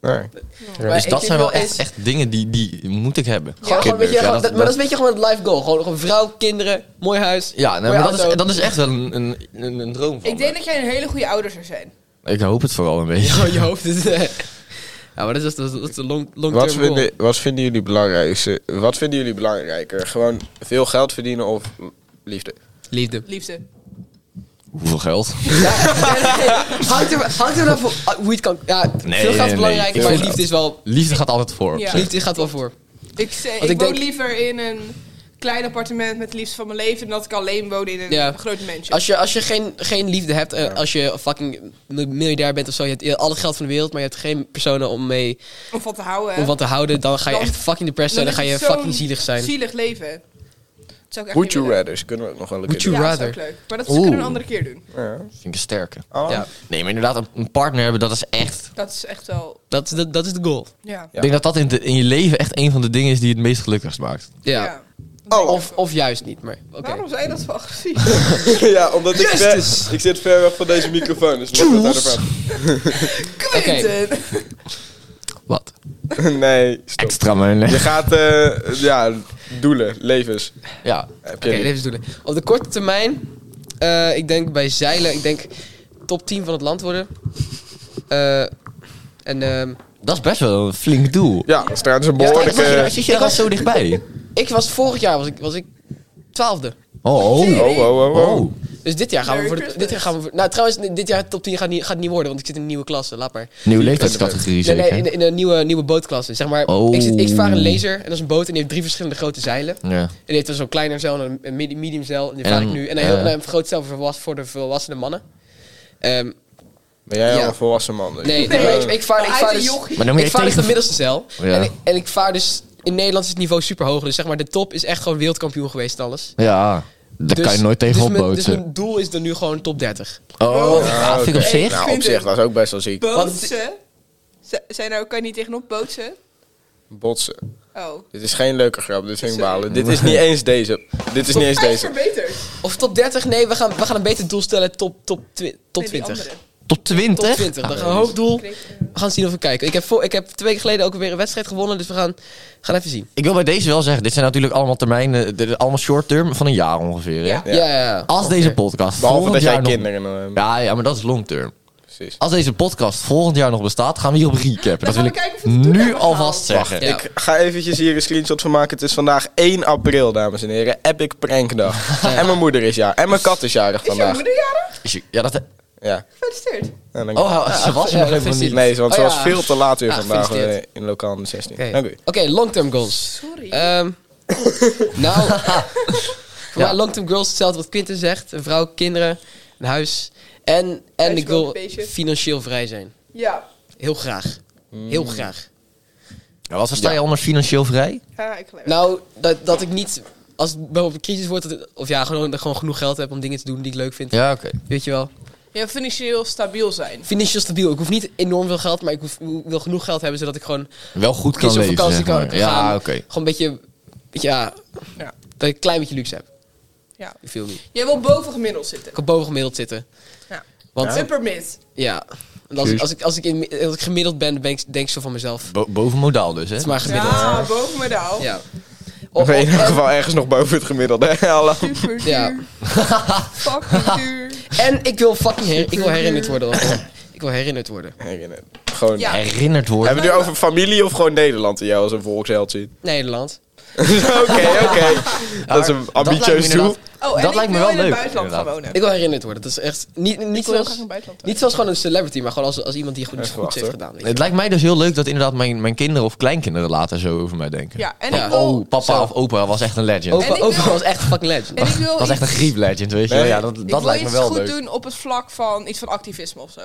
Speaker 3: Nee.
Speaker 2: Maar
Speaker 4: dus
Speaker 2: ik
Speaker 4: dat
Speaker 2: vind
Speaker 4: zijn wel
Speaker 2: wel
Speaker 4: echt,
Speaker 2: eens-
Speaker 4: echt dingen die, die moet ik hebben.
Speaker 2: Gewoon, gewoon, weet je,
Speaker 4: Ja,
Speaker 2: gewoon-
Speaker 4: dat-
Speaker 2: dat- maar dat is een beetje gewoon het life goal. Gewoon, gewoon vrouw, kinderen, mooi huis.
Speaker 4: Ja, nee,
Speaker 2: mooie
Speaker 4: maar dat is,
Speaker 2: auto.
Speaker 4: dat is echt wel een, een, een, een droom van
Speaker 1: Ik denk
Speaker 4: me.
Speaker 1: dat jij een hele goede ouder zou zijn.
Speaker 4: ik hoop het vooral een beetje.
Speaker 2: Ja, je hoofd is... eh, ja, maar dat is, dat is, dat is de long, long
Speaker 3: Wat
Speaker 2: term goal.
Speaker 3: vinden, wat vinden jullie belangrijkste? Wat vinden jullie belangrijker? Gewoon veel geld verdienen of liefde?
Speaker 2: Liefde.
Speaker 1: Liefde.
Speaker 4: Hoeveel geld?
Speaker 2: Hangt er, hangt er nou voor... ah, Hoe je het kan... Ja,
Speaker 4: Nee,
Speaker 2: veel geld
Speaker 4: nee,
Speaker 2: is belangrijk,
Speaker 4: nee,
Speaker 2: maar
Speaker 4: veel
Speaker 2: liefde
Speaker 4: geld.
Speaker 2: is wel...
Speaker 4: Liefde gaat altijd voor.
Speaker 1: Ja.
Speaker 2: Liefde gaat wel voor.
Speaker 1: Ik, zei, ik,
Speaker 2: Want ik
Speaker 1: woon
Speaker 2: denk-
Speaker 1: liever in een klein appartement met het liefst van mijn leven... dan dat ik alleen woon in een
Speaker 2: Ja.
Speaker 1: groot mansion.
Speaker 2: Als je, als je geen, geen liefde hebt, eh, als je fucking miljardair bent of zo, je hebt al het geld van de wereld, maar je hebt geen personen om mee
Speaker 1: Om van te houden. hè.
Speaker 2: om van te houden, dan ga je
Speaker 1: Dan-
Speaker 2: echt fucking depressed zijn,
Speaker 1: Dan
Speaker 2: dan ga
Speaker 1: is
Speaker 2: je
Speaker 1: het zo'n
Speaker 2: fucking zielig zijn.
Speaker 1: Zielig leven. Dat zou ik echt
Speaker 3: Would
Speaker 1: niet
Speaker 3: you
Speaker 1: willen.
Speaker 3: rather? Kunnen we ook nog wel een
Speaker 2: Would
Speaker 3: keer
Speaker 2: you
Speaker 1: Ja, dat is
Speaker 2: rather?
Speaker 1: ook leuk. Maar dat
Speaker 4: Oeh.
Speaker 1: kunnen we een andere keer doen.
Speaker 3: doen. Ja.
Speaker 4: Vind ik een sterke.
Speaker 3: Oh.
Speaker 2: Ja,
Speaker 4: Nee, maar inderdaad, een- een partner hebben, dat is echt...
Speaker 1: Dat is echt wel...
Speaker 2: dat, dat, dat is de goal.
Speaker 1: Ja.
Speaker 4: Ik denk dat dat in, de- in je leven echt een van de dingen is die het meest gelukkigst maakt.
Speaker 2: Ja.
Speaker 3: Oh.
Speaker 2: Of, of juist niet, maar oké.
Speaker 1: Waarom zei je dat zo agressief?
Speaker 3: ja, omdat ik,
Speaker 2: Justus!
Speaker 3: ver- ik zit ver weg van deze microfoon. Dus mag dat
Speaker 2: Jules!
Speaker 3: harder
Speaker 1: Quinten!
Speaker 2: Wat?
Speaker 3: praten? nee, stop.
Speaker 4: Extra man.
Speaker 3: Je gaat, eh, ja, doelen, levens.
Speaker 4: Ja.
Speaker 3: Heb
Speaker 2: Oké,
Speaker 3: je niet.
Speaker 2: even doelen. Op de korte termijn, eh, ik denk bij zeilen, ik denk top 10 van het land worden. Eh, en ehm,
Speaker 4: Dat is best wel een flink doel.
Speaker 3: Ja, eh, dat is trouwens een
Speaker 4: Kijk,
Speaker 3: behoorlijke...
Speaker 4: zit je- Zit je daar al zo dichtbij?
Speaker 2: ik was vorig jaar, was ik, was ik twaalfde.
Speaker 4: Oh.
Speaker 3: oh, oh, oh, oh.
Speaker 4: Oh.
Speaker 2: Dus dit jaar gaan we
Speaker 1: Merry
Speaker 2: voor de, dit jaar gaan we voor, Nou, trouwens, nee, dit jaar top 10 gaat niet, gaat niet worden, want ik zit in een nieuwe klasse. Laat maar.
Speaker 4: Nieuwe leeftijdscategorie
Speaker 2: Nee, nee,
Speaker 4: zeker?
Speaker 2: in, in een nieuwe, nieuwe bootklasse. Zeg maar,
Speaker 4: Oh.
Speaker 2: ik, zit, ik vaar een laser en dat is een boot en die heeft drie verschillende grote zeilen. En
Speaker 4: Ja.
Speaker 2: die heeft dan zo'n kleiner zeil en een- een medi- medium zeil. En die
Speaker 4: En
Speaker 2: vaar ik
Speaker 4: dan,
Speaker 2: nu. En een, heel,
Speaker 4: eh,
Speaker 2: een groot zeil voor, volwas- voor de volwassene mannen. Ehm,
Speaker 3: Ben jij
Speaker 2: Ja.
Speaker 3: al een volwassen man? dus?
Speaker 2: nee, nee, maar ik, ik vaar, ik
Speaker 1: Hij
Speaker 2: vaar
Speaker 1: is een
Speaker 2: dus,
Speaker 1: jochie.
Speaker 4: Maar dan moet
Speaker 2: ik
Speaker 4: je
Speaker 2: vaar dus
Speaker 4: tegen
Speaker 2: de middelste zeil.
Speaker 4: Ja.
Speaker 2: En, ik, en ik vaar dus... In Nederland is het niveau super hoog. Dus zeg maar, de top is echt gewoon wereldkampioen geweest en alles.
Speaker 4: Ja. Daar
Speaker 2: Dus-
Speaker 4: kan je nooit tegen
Speaker 2: dus mijn- Dus
Speaker 4: opboten.
Speaker 2: mijn doel is dan nu gewoon top 30.
Speaker 4: Oh,
Speaker 3: Ja,
Speaker 4: dat vind ik op
Speaker 3: oké.
Speaker 4: zich.
Speaker 3: Nou, op zich, dat is ook best wel ziek.
Speaker 1: Bootsen? Z- Zijn er ook, kan je niet tegenop bootsen?
Speaker 3: Botsen.
Speaker 1: Oh.
Speaker 3: Dit is geen leuke grap, dit vind ik
Speaker 1: Sorry.
Speaker 3: balen. Dit is niet eens deze. Dit is niet eens
Speaker 1: Hij is
Speaker 3: deze.
Speaker 1: verbeterd.
Speaker 2: Of top 30? Nee, we gaan, we gaan een beter doel stellen. Top, top, twi- top
Speaker 1: Nee, die
Speaker 2: 20.
Speaker 1: andere.
Speaker 4: Top 20?
Speaker 2: Top 20. Dan
Speaker 4: Ah,
Speaker 2: gaan we een hoog doel.
Speaker 1: Kreeg-
Speaker 2: We gaan zien of we kijken. Ik heb, voor, ik heb twee weken geleden ook weer een wedstrijd gewonnen. Dus we gaan, gaan even zien.
Speaker 4: Ik wil bij deze wel zeggen, dit zijn natuurlijk allemaal termijnen, dit is allemaal short term van een jaar ongeveer. Hè?
Speaker 1: Ja.
Speaker 3: Ja.
Speaker 2: Ja, ja, ja.
Speaker 4: Als deze podcast
Speaker 3: Behalve
Speaker 4: volgend
Speaker 3: dat jij
Speaker 4: jaar nog-
Speaker 3: kinderen nog...
Speaker 4: Ja, ja, maar dat is long term.
Speaker 3: Precies.
Speaker 4: Als deze podcast volgend jaar nog bestaat, gaan we hierop recappen.
Speaker 1: Dan
Speaker 4: Dat wil
Speaker 1: gaan we
Speaker 4: ik
Speaker 1: kijken of we het toen
Speaker 4: nu
Speaker 1: hebben
Speaker 4: alvast zeggen.
Speaker 2: Ja.
Speaker 3: Ik ga eventjes hier een screenshot van maken. Het is vandaag 1 april, dames en heren. Epic prankdag. En mijn moeder is jaar. En mijn kat is jarig
Speaker 1: Is jouw
Speaker 3: vandaag.
Speaker 1: moeder jarig?
Speaker 4: Is je- Ja, dat...
Speaker 3: Ja.
Speaker 1: Gefeliciteerd.
Speaker 3: En dan-
Speaker 4: Oh, ze was
Speaker 2: Ah,
Speaker 4: er
Speaker 2: ja,
Speaker 4: nog
Speaker 2: dat
Speaker 4: even
Speaker 2: is
Speaker 4: niet.
Speaker 2: het.
Speaker 4: Nee.
Speaker 3: Nee, want ze
Speaker 2: Oh,
Speaker 3: was
Speaker 2: ja.
Speaker 3: veel te laat weer
Speaker 2: Ah,
Speaker 3: vandaag eh,
Speaker 2: gefeliciteerd.
Speaker 3: in lokaal aan de 16.
Speaker 2: Oké,
Speaker 3: Dank u.
Speaker 2: Oké, long-term goals.
Speaker 1: Sorry.
Speaker 2: Ehm, nou, voor
Speaker 4: Ja.
Speaker 2: mij long-term goals hetzelfde wat Quinten zegt. Een vrouw, kinderen, een huis. En, en ik wil
Speaker 1: Huiswoonbeestje.
Speaker 2: financieel vrij zijn.
Speaker 1: ja.
Speaker 2: Heel graag.
Speaker 4: Mm.
Speaker 2: Heel graag.
Speaker 4: wat versta je onder financieel vrij?
Speaker 1: Ja, ik geloof het.
Speaker 2: Nou, dat, dat ik niet... Als het bijvoorbeeld een crisis wordt, dat het- of ja, gewoon, dat ik gewoon genoeg geld heb om dingen te doen die ik leuk vind.
Speaker 4: Ja, oké.
Speaker 2: Weet je wel.
Speaker 1: Nou. Ja, financieel stabiel zijn.
Speaker 2: Financieel stabiel. Ik hoef niet enorm veel geld, maar ik hoef, wil genoeg geld hebben zodat ik gewoon
Speaker 4: Wel goed kan
Speaker 2: kies op
Speaker 4: leven,
Speaker 2: vakantie
Speaker 4: zeg
Speaker 2: kan
Speaker 4: maar.
Speaker 2: kan gaan.
Speaker 4: Ja, oké.
Speaker 2: Gewoon een beetje, ja,
Speaker 1: Ja.
Speaker 2: dat ik een klein beetje luxe heb.
Speaker 1: Ja.
Speaker 2: Ik viel niet.
Speaker 1: Jij wil boven gemiddeld zitten.
Speaker 2: Ik kan boven gemiddeld zitten.
Speaker 1: Ja.
Speaker 2: Want ja,
Speaker 1: Upper mid.
Speaker 2: En als, ik,
Speaker 4: Juist.
Speaker 2: als, ik, als, ik in, als ik gemiddeld ben, ben ik, denk ik zo van mezelf. Het
Speaker 4: Bo- boven modaal dus, hè?
Speaker 2: is maar gemiddeld. Ja.
Speaker 1: Ja, boven modaal.
Speaker 2: Ja.
Speaker 3: Of
Speaker 2: Of-
Speaker 3: in ieder
Speaker 2: of-
Speaker 3: geval ergens nog boven het gemiddelde. hè, Hallo.
Speaker 1: Super duur.
Speaker 2: Ja.
Speaker 1: Fucking duur.
Speaker 2: en ik wil fucking her, ik wil herinnerd worden. hoor. ik wil herinnerd worden.
Speaker 3: Gewoon.
Speaker 1: Ja.
Speaker 4: Herinnerd worden.
Speaker 3: Hebben we het nu over familie of gewoon Nederland die jou als een volksheld ziet?
Speaker 2: Nederland.
Speaker 3: Oké, oké. Dat is een
Speaker 4: Dat lijkt me
Speaker 3: ambitieus doel.
Speaker 4: inderdaad-
Speaker 1: Oh, en
Speaker 4: Dat
Speaker 1: ik
Speaker 4: lijkt me
Speaker 1: wil
Speaker 4: wel
Speaker 1: in het
Speaker 4: leuk,
Speaker 1: buitenland gaan
Speaker 4: inderdaad.
Speaker 1: wonen.
Speaker 2: Ik wil herinnerd worden. Dat is echt niet, niet,
Speaker 1: wil heel graag
Speaker 2: zoals,
Speaker 1: in het buitenland
Speaker 2: niet zoals gewoon een celebrity, maar gewoon als, als iemand die gewoon iets
Speaker 3: Even
Speaker 2: goeds heeft
Speaker 3: wachten.
Speaker 2: gedaan. weet je.
Speaker 4: Het lijkt mij dus heel leuk dat inderdaad mijn, mijn kinderen of kleinkinderen later zo over mij denken.
Speaker 1: Ja, en
Speaker 2: Ja.
Speaker 1: ik wil...
Speaker 4: Oh, papa
Speaker 2: Zo.
Speaker 4: of opa was echt een legend.
Speaker 3: Oh.
Speaker 1: En ik
Speaker 2: Opa, opa
Speaker 1: wil-
Speaker 2: was echt fucking legend.
Speaker 1: En ik wil
Speaker 4: was echt een
Speaker 1: iets-
Speaker 4: griep legend, weet je wel.
Speaker 3: Nee,
Speaker 4: Ja, dat,
Speaker 1: ik
Speaker 4: dat
Speaker 1: wil
Speaker 4: lijkt me
Speaker 1: iets
Speaker 4: wel
Speaker 1: goed
Speaker 4: leuk.
Speaker 1: doen op het vlak van iets van activisme of zo.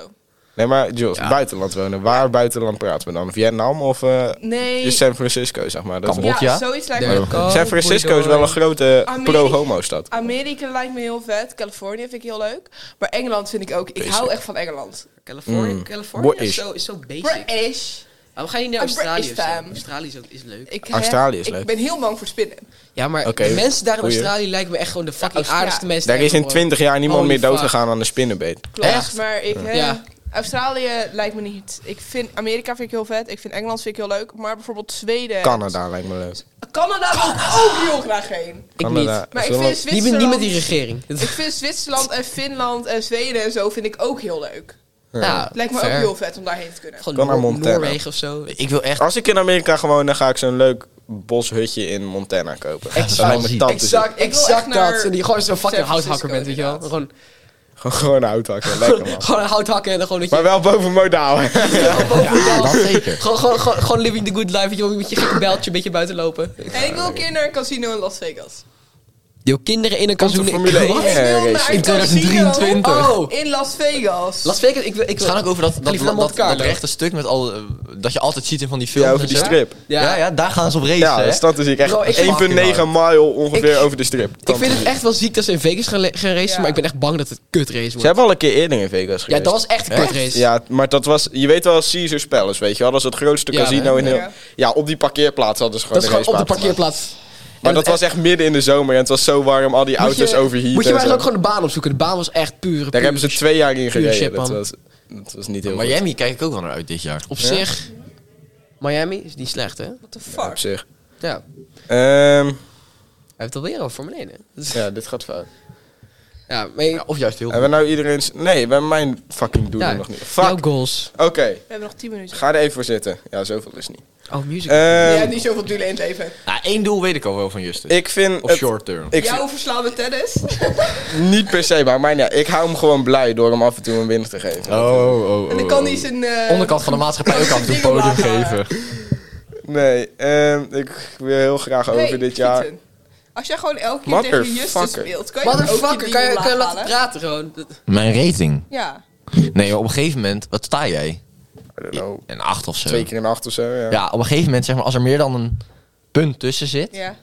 Speaker 3: Nee, maar Jules,
Speaker 4: Ja.
Speaker 3: buitenland wonen. Waar buitenland praten we dan? Vietnam of eh,
Speaker 1: Nee.
Speaker 3: is San Francisco, zeg maar? Dat
Speaker 4: Cambodja.
Speaker 1: Ja, zoiets lijkt me.
Speaker 2: Daar-
Speaker 3: San Francisco is wel een grote
Speaker 1: Amerika.
Speaker 3: pro-homo-stad.
Speaker 2: Ah,
Speaker 1: Amerika lijkt me heel vet. Californië vind ik heel leuk. Maar Engeland vind ik ook. Ik hou echt van Engeland.
Speaker 2: Californië,
Speaker 3: Mm.
Speaker 2: Californië is
Speaker 3: British.
Speaker 2: zo, is zo basic.
Speaker 1: British.
Speaker 2: Waarom ga je niet naar
Speaker 1: Een
Speaker 2: Australië? of zo?
Speaker 1: British fam.
Speaker 2: Australië is, ook- is leuk.
Speaker 1: Ik,
Speaker 3: Australië is
Speaker 1: ik
Speaker 3: leuk.
Speaker 1: ben heel bang voor spinnen.
Speaker 2: Ja, maar
Speaker 3: Oké,
Speaker 2: de mensen daar in
Speaker 3: goeie.
Speaker 2: Australië lijken me echt gewoon de fucking
Speaker 1: Australië.
Speaker 2: aardigste mensen.
Speaker 3: Daar is in
Speaker 2: ever, hoor.
Speaker 3: 20 jaar niemand
Speaker 2: Holy
Speaker 3: meer dood
Speaker 2: fuck.
Speaker 3: gegaan aan de spinnenbeet.
Speaker 1: Klopt,
Speaker 2: Echt?
Speaker 1: maar ik... hè,
Speaker 2: Ja.
Speaker 1: Australië lijkt me niet. Ik vind Amerika vind ik heel vet. Ik vind Engeland vind ik heel leuk. Maar bijvoorbeeld Zweden...
Speaker 3: Canada lijkt me leuk.
Speaker 1: Canada wil ik ook heel graag heen.
Speaker 2: Ik
Speaker 3: Canada.
Speaker 2: niet.
Speaker 1: Maar ik vind
Speaker 3: Zullen we-
Speaker 2: Niet met,
Speaker 1: Zwitserland...
Speaker 2: niet met die regering.
Speaker 1: ik vind Zwitserland en Finland en Zweden en zo vind ik ook heel leuk.
Speaker 2: Nou,
Speaker 1: Het lijkt me ook
Speaker 2: fair.
Speaker 1: heel vet om daarheen te kunnen.
Speaker 2: Gewoon
Speaker 3: Kan naar
Speaker 2: Noor-
Speaker 3: Montana.
Speaker 2: Noorwegen of zo.
Speaker 4: Ik wil echt...
Speaker 3: Als ik in Amerika gewoon, dan ga ik zo'n leuk boshutje in Montana kopen.
Speaker 4: Exact.
Speaker 3: Dat dus. lijkt me tante ziek.
Speaker 2: Exact,
Speaker 1: Ik wil echt
Speaker 2: exact
Speaker 1: naar
Speaker 2: dat. En die gewoon zo'n fucking
Speaker 1: San Francisco,
Speaker 2: houthakker bent, weet je wel.
Speaker 1: inderdaad.
Speaker 2: Gewoon,
Speaker 3: Gewoon, gewoon hout hakken. Lekker man.
Speaker 2: Gewoon hout hakken en dan gewoon dat je...
Speaker 3: Maar wel boven modaal.
Speaker 4: Dat zeker.
Speaker 2: Gewoon, gewoon, gewoon, gewoon living the good life, weet je wel, met je gekke beltje een beetje buiten lopen.
Speaker 1: En ik wil een keer naar een casino in Las Vegas.
Speaker 2: Yo, kinderen in een
Speaker 3: Komt de
Speaker 2: casino...
Speaker 3: Formule
Speaker 2: Ik-
Speaker 1: Ik wil
Speaker 2: Wat?
Speaker 3: 1 race.
Speaker 1: naar
Speaker 4: In
Speaker 1: een casino
Speaker 4: 2023.
Speaker 2: Oh,
Speaker 1: in Las Vegas.
Speaker 2: Las Vegas, ik wil... Ik
Speaker 4: Ze
Speaker 2: wil
Speaker 4: gaan ook over dat, dat,
Speaker 2: Cleveland,
Speaker 4: dat,
Speaker 2: Monte
Speaker 4: dat,
Speaker 2: Carlo.
Speaker 4: rechte stuk met al, eh, dat je altijd ziet in van die films.
Speaker 3: Ja, over
Speaker 4: en
Speaker 3: die
Speaker 4: zo.
Speaker 3: strip.
Speaker 4: Ja. ja, daar gaan ze op racen.
Speaker 3: Ja,
Speaker 4: hè?
Speaker 3: de stad is ik echt
Speaker 2: Bro, ik-
Speaker 3: 1,9 mile ongeveer
Speaker 2: Ik-
Speaker 3: over de strip.
Speaker 2: Ik vind het echt wel ziek dat ze in Vegas gaan, le- gaan racen,
Speaker 1: Ja.
Speaker 2: maar ik ben echt bang dat het kutrace wordt.
Speaker 3: Ze hebben al een keer eerder in Vegas
Speaker 2: Ja,
Speaker 3: geweest.
Speaker 2: dat was echt een kutrace.
Speaker 3: Ja, maar dat was... Je weet wel, Caesars Palace, weet je wel. Dat is het grootste
Speaker 2: Ja,
Speaker 3: casino
Speaker 2: hè?
Speaker 3: in heel...
Speaker 1: Ja.
Speaker 3: Ja. op die parkeerplaats hadden ze
Speaker 2: Dat
Speaker 3: gewoon
Speaker 2: is
Speaker 3: een
Speaker 2: gewoon op de
Speaker 3: racebaan gemaakt.
Speaker 2: parkeerplaats.
Speaker 3: Maar
Speaker 2: En
Speaker 3: dat
Speaker 2: het-
Speaker 3: was echt midden in de zomer en het was zo warm, al die
Speaker 2: Moet
Speaker 3: auto's
Speaker 2: je-
Speaker 3: overheaten.
Speaker 2: Moet je
Speaker 3: en
Speaker 2: maar
Speaker 3: zo.
Speaker 2: eigenlijk ook gewoon de baan opzoeken. de baan was echt pure.
Speaker 3: Daar
Speaker 2: pure
Speaker 3: hebben ze
Speaker 2: shit.
Speaker 3: twee jaar in
Speaker 2: shit,
Speaker 3: gereden. Dat
Speaker 2: man.
Speaker 3: was, dat was niet heel goed.
Speaker 4: Miami kijk ik ook wel naar uit dit jaar.
Speaker 2: Op
Speaker 3: Ja.
Speaker 2: zich, Miami is niet slecht, hè?
Speaker 1: What the
Speaker 3: Ja, op
Speaker 1: fuck?
Speaker 3: zich.
Speaker 2: Ja.
Speaker 3: Ehm,
Speaker 2: Hij heeft alweer over Formule 1, hè? Dat is-
Speaker 3: ja, dit gaat fout.
Speaker 2: Ja, maar... je-
Speaker 4: Of juist heel
Speaker 3: Hebben we nou iedereen... Nee, we hebben mijn fucking doelen
Speaker 2: Ja.
Speaker 3: nog niet.
Speaker 2: Jouw
Speaker 3: Fuck.
Speaker 2: goals.
Speaker 3: Oké,
Speaker 1: We hebben nog 10 minuten.
Speaker 3: ga er even voor zitten. Ja, zoveel is niet.
Speaker 2: Oh, music.
Speaker 1: Jij
Speaker 3: Ehm
Speaker 1: hebt niet zoveel doelen in het leven.
Speaker 4: Nou, één doel weet ik al wel van Justus.
Speaker 3: ik vind
Speaker 4: Of
Speaker 3: het
Speaker 4: short term.
Speaker 3: ik
Speaker 1: Jouw verslaande tennis.
Speaker 3: vind- niet per se, maar, maar ja, ik hou hem gewoon blij door hem af en toe een winner te geven.
Speaker 4: oh,
Speaker 1: En dan kan hij zijn... eh,
Speaker 4: Onderkant van de maatschappij ook af en toe
Speaker 1: Dingen
Speaker 4: podium
Speaker 1: laten. eh,
Speaker 4: geven.
Speaker 3: Nee, ehm, ik wil heel graag
Speaker 1: Nee,
Speaker 3: over dit jaar...
Speaker 1: Gieten. Als jij gewoon elke keer tegen Justus
Speaker 3: Motherfucker.
Speaker 1: speelt, kan je dan ook
Speaker 2: Motherfucker,
Speaker 1: je
Speaker 2: kan je,
Speaker 1: deal
Speaker 2: kan je laten
Speaker 1: laten halen?
Speaker 2: praten gewoon? Dat-
Speaker 4: Mijn rating?
Speaker 1: Ja.
Speaker 4: Nee, maar op een gegeven moment, wat sta jij?
Speaker 3: I don't know,
Speaker 4: Een acht of zo.
Speaker 3: twee keer een acht of zo, ja.
Speaker 4: Ja, op een gegeven moment, zeg maar, als er meer dan een punt tussen zit,
Speaker 1: ja.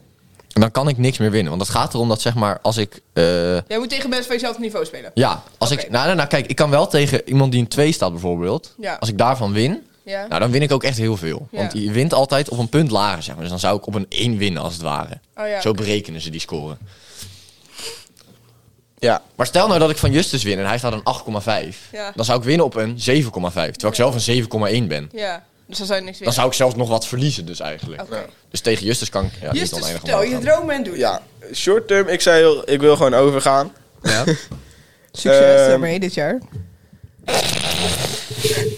Speaker 4: dan kan ik niks meer winnen. Want het gaat erom dat, zeg maar, als ik... eh,
Speaker 1: Jij moet tegen mensen van jezelfde niveau spelen.
Speaker 4: ja, als
Speaker 1: Oké.
Speaker 4: ik... Nou, nou, nou, kijk, ik kan wel tegen iemand die een 2 staat bijvoorbeeld.
Speaker 1: Ja.
Speaker 4: Als ik daarvan win,
Speaker 1: Ja.
Speaker 4: nou, dan win ik ook echt heel veel.
Speaker 1: Ja.
Speaker 4: Want je wint altijd op een punt lager, zeg maar. Dus dan zou ik op een 1 winnen, als het ware.
Speaker 1: Oh ja,
Speaker 4: Zo
Speaker 1: oké.
Speaker 4: berekenen ze die scoren.
Speaker 3: Ja,
Speaker 4: Maar stel nou dat ik van Justus win en hij staat een 8,5.
Speaker 1: Ja.
Speaker 4: Dan zou ik winnen op een 7,5. Terwijl ik zelf een 7,1 ben.
Speaker 1: Ja. Dus dan zou je niks
Speaker 4: Dan
Speaker 1: winnen.
Speaker 4: zou ik zelfs nog wat verliezen dus eigenlijk.
Speaker 1: Oké.
Speaker 4: Dus tegen Justus kan ik ja, niet
Speaker 1: Justus,
Speaker 4: oneindig
Speaker 1: vertel
Speaker 4: omhoog
Speaker 1: je
Speaker 4: gaan.
Speaker 1: dromen en doe
Speaker 3: ja. Short term, ik zei heel, ik wil gewoon overgaan.
Speaker 1: Succes
Speaker 3: Ehm,
Speaker 1: daarmee dit jaar.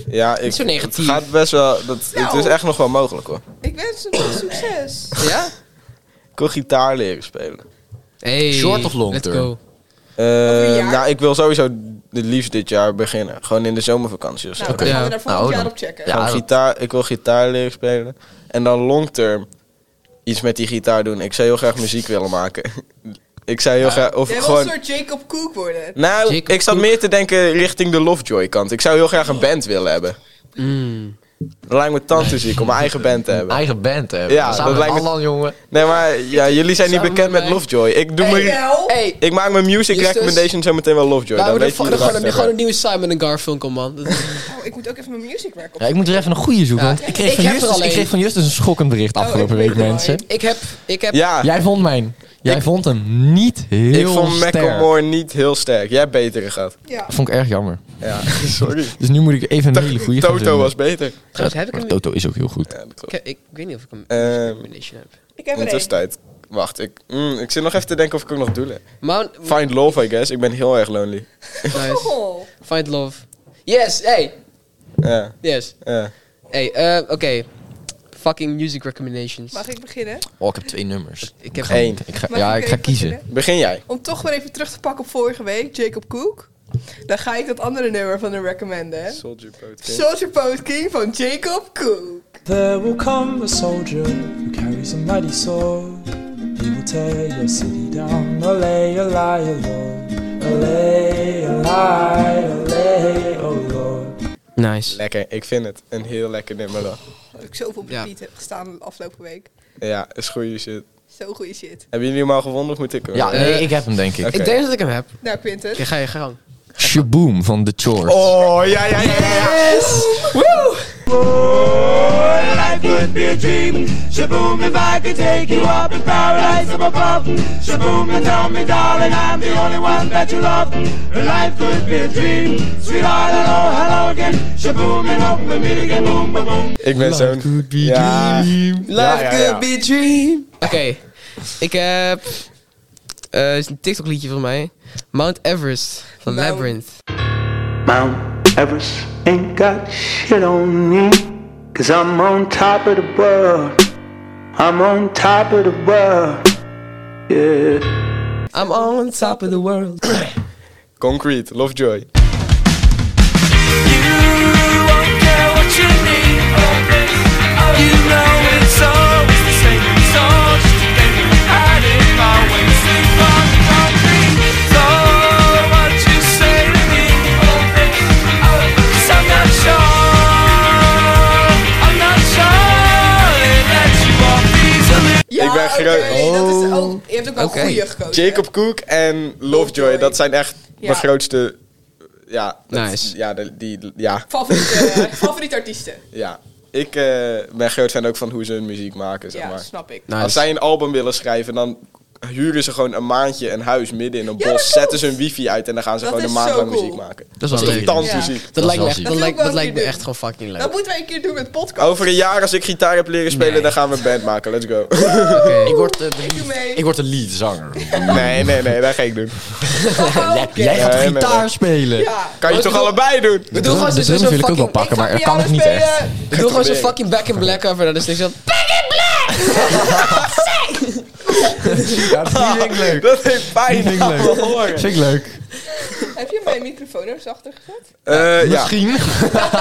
Speaker 3: Ja, ik,
Speaker 2: Niet zo negatief.
Speaker 3: Het gaat best wel. Dat,
Speaker 1: Nou.
Speaker 3: Het is echt nog wel mogelijk hoor.
Speaker 1: Ik wens hem veel succes. Nou,
Speaker 2: Ja?
Speaker 3: Ik wil gitaar leren spelen.
Speaker 2: Hey,
Speaker 4: Short of long
Speaker 2: let's
Speaker 4: term?
Speaker 2: go.
Speaker 3: Eh,
Speaker 1: een jaar?
Speaker 3: nou, ik wil sowieso het liefst dit jaar beginnen. Gewoon in de zomervakantie of zo.
Speaker 1: Nou, dan gaan
Speaker 2: Ja.
Speaker 1: we daar volgend
Speaker 4: Nou,
Speaker 1: jaar
Speaker 4: dan-
Speaker 1: op checken.
Speaker 4: Ja.
Speaker 3: Gewoon gitaar, ik wil gitaar leren spelen. En dan long term iets met die gitaar doen. Ik zou heel graag muziek willen maken. Ik zou heel graag. Of
Speaker 1: Jij wil
Speaker 3: gewoon.
Speaker 1: een soort Jacob Cook worden.
Speaker 3: Nou,
Speaker 2: Jacob
Speaker 3: ik zat
Speaker 2: Cook.
Speaker 3: meer te denken richting de Lovejoy kant. Ik zou heel graag een band willen hebben.
Speaker 2: Mm.
Speaker 3: Dat lijkt me tanteziek om mijn eigen band te hebben.
Speaker 4: Eigen band hè.
Speaker 3: Ja,
Speaker 4: Samen
Speaker 3: dat
Speaker 4: met
Speaker 3: lijkt me-
Speaker 4: Alan, jongen.
Speaker 3: Nee, maar ja, jullie zijn niet
Speaker 2: Samen
Speaker 3: bekend
Speaker 2: met
Speaker 3: met
Speaker 2: mij.
Speaker 3: Lovejoy. Ik doe
Speaker 1: Hey,
Speaker 3: mijn-
Speaker 1: wel.
Speaker 2: Hey,
Speaker 3: Ik maak mijn music
Speaker 2: Justus.
Speaker 3: recommendation zo meteen wel
Speaker 2: laten
Speaker 3: Lovejoy. Dan
Speaker 2: we er
Speaker 3: weet je
Speaker 2: gewoon, gewoon, een-
Speaker 3: erachter
Speaker 2: gewoon een
Speaker 3: bent.
Speaker 2: nieuwe Simon en Garfunkel, man. Dat-
Speaker 1: Oh, ik moet ook even mijn music werk op.
Speaker 4: Ja, ik moet er even een goede zoeken.
Speaker 2: Ja.
Speaker 4: want ik kreeg,
Speaker 2: Ik
Speaker 4: van
Speaker 2: heb er
Speaker 4: Justus,
Speaker 2: alleen.
Speaker 4: ik kreeg van Justus een schokkend bericht
Speaker 1: Oh,
Speaker 4: afgelopen
Speaker 1: ik
Speaker 4: week,
Speaker 1: weet het al.
Speaker 4: mensen.
Speaker 2: ik heb... Ik heb
Speaker 3: Ja,
Speaker 4: Jij vond mijn. Jij
Speaker 3: Ik-
Speaker 4: vond hem niet
Speaker 3: ik
Speaker 4: heel
Speaker 3: vond
Speaker 4: sterk.
Speaker 3: Macklemore niet heel sterk. Jij hebt betere gehad.
Speaker 1: Ja.
Speaker 4: Vond ik erg jammer.
Speaker 3: Ja, sorry.
Speaker 4: Dus nu moet ik even een hele goede gaan
Speaker 3: Toto
Speaker 4: vinden.
Speaker 3: was beter.
Speaker 2: Trouwens, heb ik
Speaker 4: Maar
Speaker 2: hem-
Speaker 4: Toto is ook heel goed.
Speaker 3: Ja, dat
Speaker 2: Ik,
Speaker 3: klopt.
Speaker 2: heb- ik weet niet of ik hem
Speaker 3: Ehm.
Speaker 2: combination heb.
Speaker 1: Ik heb
Speaker 3: In de
Speaker 1: er één.
Speaker 3: tussentijd. Wacht, ik, mm, ik zit nog even te denken of ik ook nog doelen heb.
Speaker 2: Mount,
Speaker 3: Find love, I guess. Ik ben heel erg lonely.
Speaker 2: nice.
Speaker 1: Oh.
Speaker 2: Find love. Yes, hey.
Speaker 3: Ja,
Speaker 2: Yes.
Speaker 3: ja.
Speaker 2: Hey, eh, oké. Fucking music recommendations.
Speaker 1: Mag ik beginnen?
Speaker 4: Oh, ik heb twee nummers.
Speaker 2: Ik heb
Speaker 4: ga-
Speaker 3: één.
Speaker 4: Ik ga,
Speaker 1: Mag
Speaker 4: ja, ik ga
Speaker 1: even
Speaker 4: kiezen.
Speaker 1: beginnen?
Speaker 3: Begin jij.
Speaker 1: Om toch weer even terug te pakken op vorige week, Jacob Cook. Dan ga ik dat andere nummer van hem recommenden. hè.
Speaker 3: Soldier Boat
Speaker 1: Soldier Poet King van Jacob Cook.
Speaker 6: There will come a soldier who carries a mighty sword. He will tear your city down. Olay, olay, oh lord. Olay, olay, olay, oh lord.
Speaker 2: Nice.
Speaker 3: Lekker, ik vind het. Een heel lekker nummer dan.
Speaker 1: Dat ik zoveel op
Speaker 2: Ja.
Speaker 1: repeat heb gestaan de afgelopen week.
Speaker 3: Ja, is goede shit.
Speaker 1: Zo goede shit.
Speaker 3: Hebben jullie hem al gevonden of moet ik hem?
Speaker 4: Ja,
Speaker 2: Eh,
Speaker 4: nee, ik heb hem denk ik.
Speaker 3: Oké.
Speaker 2: Ik denk dat ik hem heb.
Speaker 1: Nou, Quinten.
Speaker 2: Oké, ga je gang.
Speaker 4: Shaboom van The Chores.
Speaker 3: Oh, ja, ja, ja, ja. ja.
Speaker 7: life could be a dream. Shaboom, if I could take you up in paradise up above. Shaboom, you tell me, darling, I'm the only one that you love. Life could be a dream. Sweetheart, hello, hello again. Shaboom, and hope we meet again. Boom, boom, boom.
Speaker 3: Ik ben zo'n... ja.
Speaker 2: Life
Speaker 3: Ja, ja, ja.
Speaker 2: could be a dream. Oké, ik heb. eh is een TikTok liedje van mij. Mount Everest van
Speaker 1: Mount-
Speaker 2: Labyrinth.
Speaker 7: Mount Everest ain't got shit on me. Cause I'm on top of the world. I'm on top of the world. Yeah.
Speaker 2: I'm on top of the world.
Speaker 3: Concrete, Lovejoy. Ik ben
Speaker 1: oké,
Speaker 3: groot.
Speaker 1: dat is ook, je hebt ook wel
Speaker 4: Oh. Oké.
Speaker 1: een goeie gekozen.
Speaker 3: Jacob Cook en Lovejoy,
Speaker 1: Lovejoy.
Speaker 3: dat zijn echt
Speaker 1: Ja.
Speaker 3: mijn grootste... Ja, dat-
Speaker 2: Nice.
Speaker 3: Ja, de- die, ja,
Speaker 1: Favoriete, eh, favoriete artiesten.
Speaker 3: ja. Ik eh, ben groot fan ook van hoe ze hun muziek maken, zeg
Speaker 1: Ja,
Speaker 3: maar.
Speaker 1: snap
Speaker 4: Nou,
Speaker 1: ik.
Speaker 2: Nice.
Speaker 3: Als zij een album willen schrijven, dan huren ze gewoon een maandje een huis midden in een
Speaker 1: Ja, dat
Speaker 3: bos.
Speaker 1: klopt.
Speaker 3: Zetten ze hun wifi uit en dan gaan ze
Speaker 1: Dat
Speaker 3: gewoon een
Speaker 1: is
Speaker 3: maand
Speaker 1: zo
Speaker 3: lang
Speaker 1: cool.
Speaker 3: muziek maken.
Speaker 4: Dat is wel leuk.
Speaker 3: Tans
Speaker 1: Ja.
Speaker 3: muziek.
Speaker 2: Dat, lijkt me,
Speaker 4: wel
Speaker 2: echt,
Speaker 4: ziek.
Speaker 2: dat,
Speaker 1: Dat wil
Speaker 2: lijkt, dat
Speaker 1: ik wel
Speaker 2: lijkt
Speaker 1: een
Speaker 2: me
Speaker 1: keer
Speaker 2: echt gewoon fucking leuk.
Speaker 1: Dat moeten wij een keer doen met podcast.
Speaker 3: Over een jaar, als ik gitaar heb leren spelen, dan gaan we een band maken. Let's go.
Speaker 2: Oké.
Speaker 4: Ik word, eh, de
Speaker 1: Doe
Speaker 4: lead,
Speaker 1: mee.
Speaker 4: ik word de leadzanger.
Speaker 3: nee, nee, nee, dat ga ik doen.
Speaker 1: Oh, oké.
Speaker 4: Jij gaat
Speaker 3: Nee, nee,
Speaker 4: gitaar
Speaker 3: nee.
Speaker 4: spelen.
Speaker 1: Ja.
Speaker 3: Kan
Speaker 2: Maar
Speaker 3: je toch
Speaker 2: ik bedoel-
Speaker 3: allebei doen?
Speaker 2: Ik bedoel gewoon
Speaker 4: de
Speaker 2: zo'n
Speaker 4: drum wil ik ook wel
Speaker 2: fucking...
Speaker 4: pakken,
Speaker 1: Ik ga
Speaker 4: maar er kan
Speaker 1: piano
Speaker 4: het niet
Speaker 1: spelen.
Speaker 4: echt.
Speaker 2: Ik doe gewoon zo'n
Speaker 3: proberen.
Speaker 2: fucking back in black over. en Dan is niks aan.
Speaker 4: Ja, dat vind ik leuk.
Speaker 3: Dat heeft pijn.
Speaker 4: Vind ik
Speaker 3: aan
Speaker 4: leuk.
Speaker 3: mijn oren.
Speaker 4: Vind ik leuk.
Speaker 1: Heb je mijn microfoon er zachter gezet?
Speaker 3: Eh, ja.
Speaker 4: Misschien.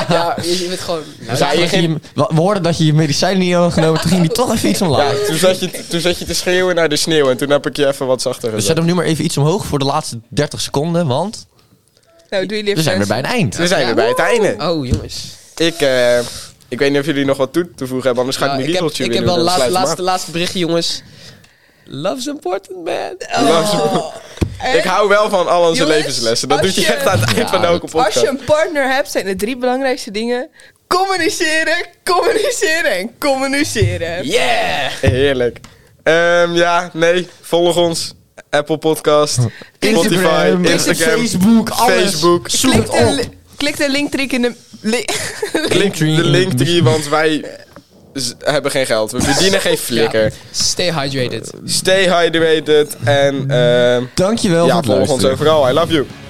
Speaker 2: Ja, je, je bent gewoon...
Speaker 4: We, zagen dat je je- we hoorden dat je je medicijnen niet had genomen. Toen ging die toch even iets omlaag.
Speaker 3: Ja, toen zat, je, toen zat je te schreeuwen naar de sneeuw en toen heb ik je even wat zachter
Speaker 4: Dus zet
Speaker 3: gezet.
Speaker 4: hem nu maar even iets omhoog voor de laatste 30 seconden, want
Speaker 1: Nou, doe je lief.
Speaker 4: we zijn weer bij een eind.
Speaker 3: We zijn weer bij het einde.
Speaker 2: Oh, jongens.
Speaker 3: Ik, eh, ik weet niet of jullie nog wat toe te voegen hebben, anders ga ik
Speaker 2: Ja,
Speaker 3: mijn
Speaker 2: Nou, ik heb,
Speaker 3: riegeltje
Speaker 2: ik
Speaker 3: weer
Speaker 2: heb
Speaker 3: doen.
Speaker 2: wel
Speaker 3: en dan
Speaker 2: laatste,
Speaker 3: sluiten
Speaker 2: laatste,
Speaker 3: we
Speaker 2: laatste berichtje, jongens. Love's important, man.
Speaker 3: af.
Speaker 1: Eh,
Speaker 3: Ik hou wel van al onze
Speaker 1: Jongens,
Speaker 3: levenslessen. Dat
Speaker 1: als
Speaker 3: doet je
Speaker 1: je-
Speaker 3: echt aan het eind van elke
Speaker 1: Als je
Speaker 3: podcast.
Speaker 1: een partner hebt, zijn de drie belangrijkste dingen: communiceren, communiceren en communiceren.
Speaker 2: Yeah!
Speaker 3: Heerlijk. Ehm, ja, nee, volg ons. Apple Podcast, Spotify,
Speaker 4: Instagram,
Speaker 3: Instagram,
Speaker 4: Facebook, alles.
Speaker 3: Facebook.
Speaker 4: Zoek
Speaker 1: Klik
Speaker 4: het
Speaker 1: de,
Speaker 4: op.
Speaker 1: li- klik de linktree in de. li-
Speaker 3: Klik de link 3, want wij z- hebben geen geld. We verdienen geen flikker.
Speaker 2: Stay hydrated.
Speaker 3: Stay hydrated en ehm
Speaker 4: Dankjewel
Speaker 3: ja,
Speaker 4: voor het
Speaker 3: volg ons
Speaker 4: luisteren.
Speaker 3: overal. I love you.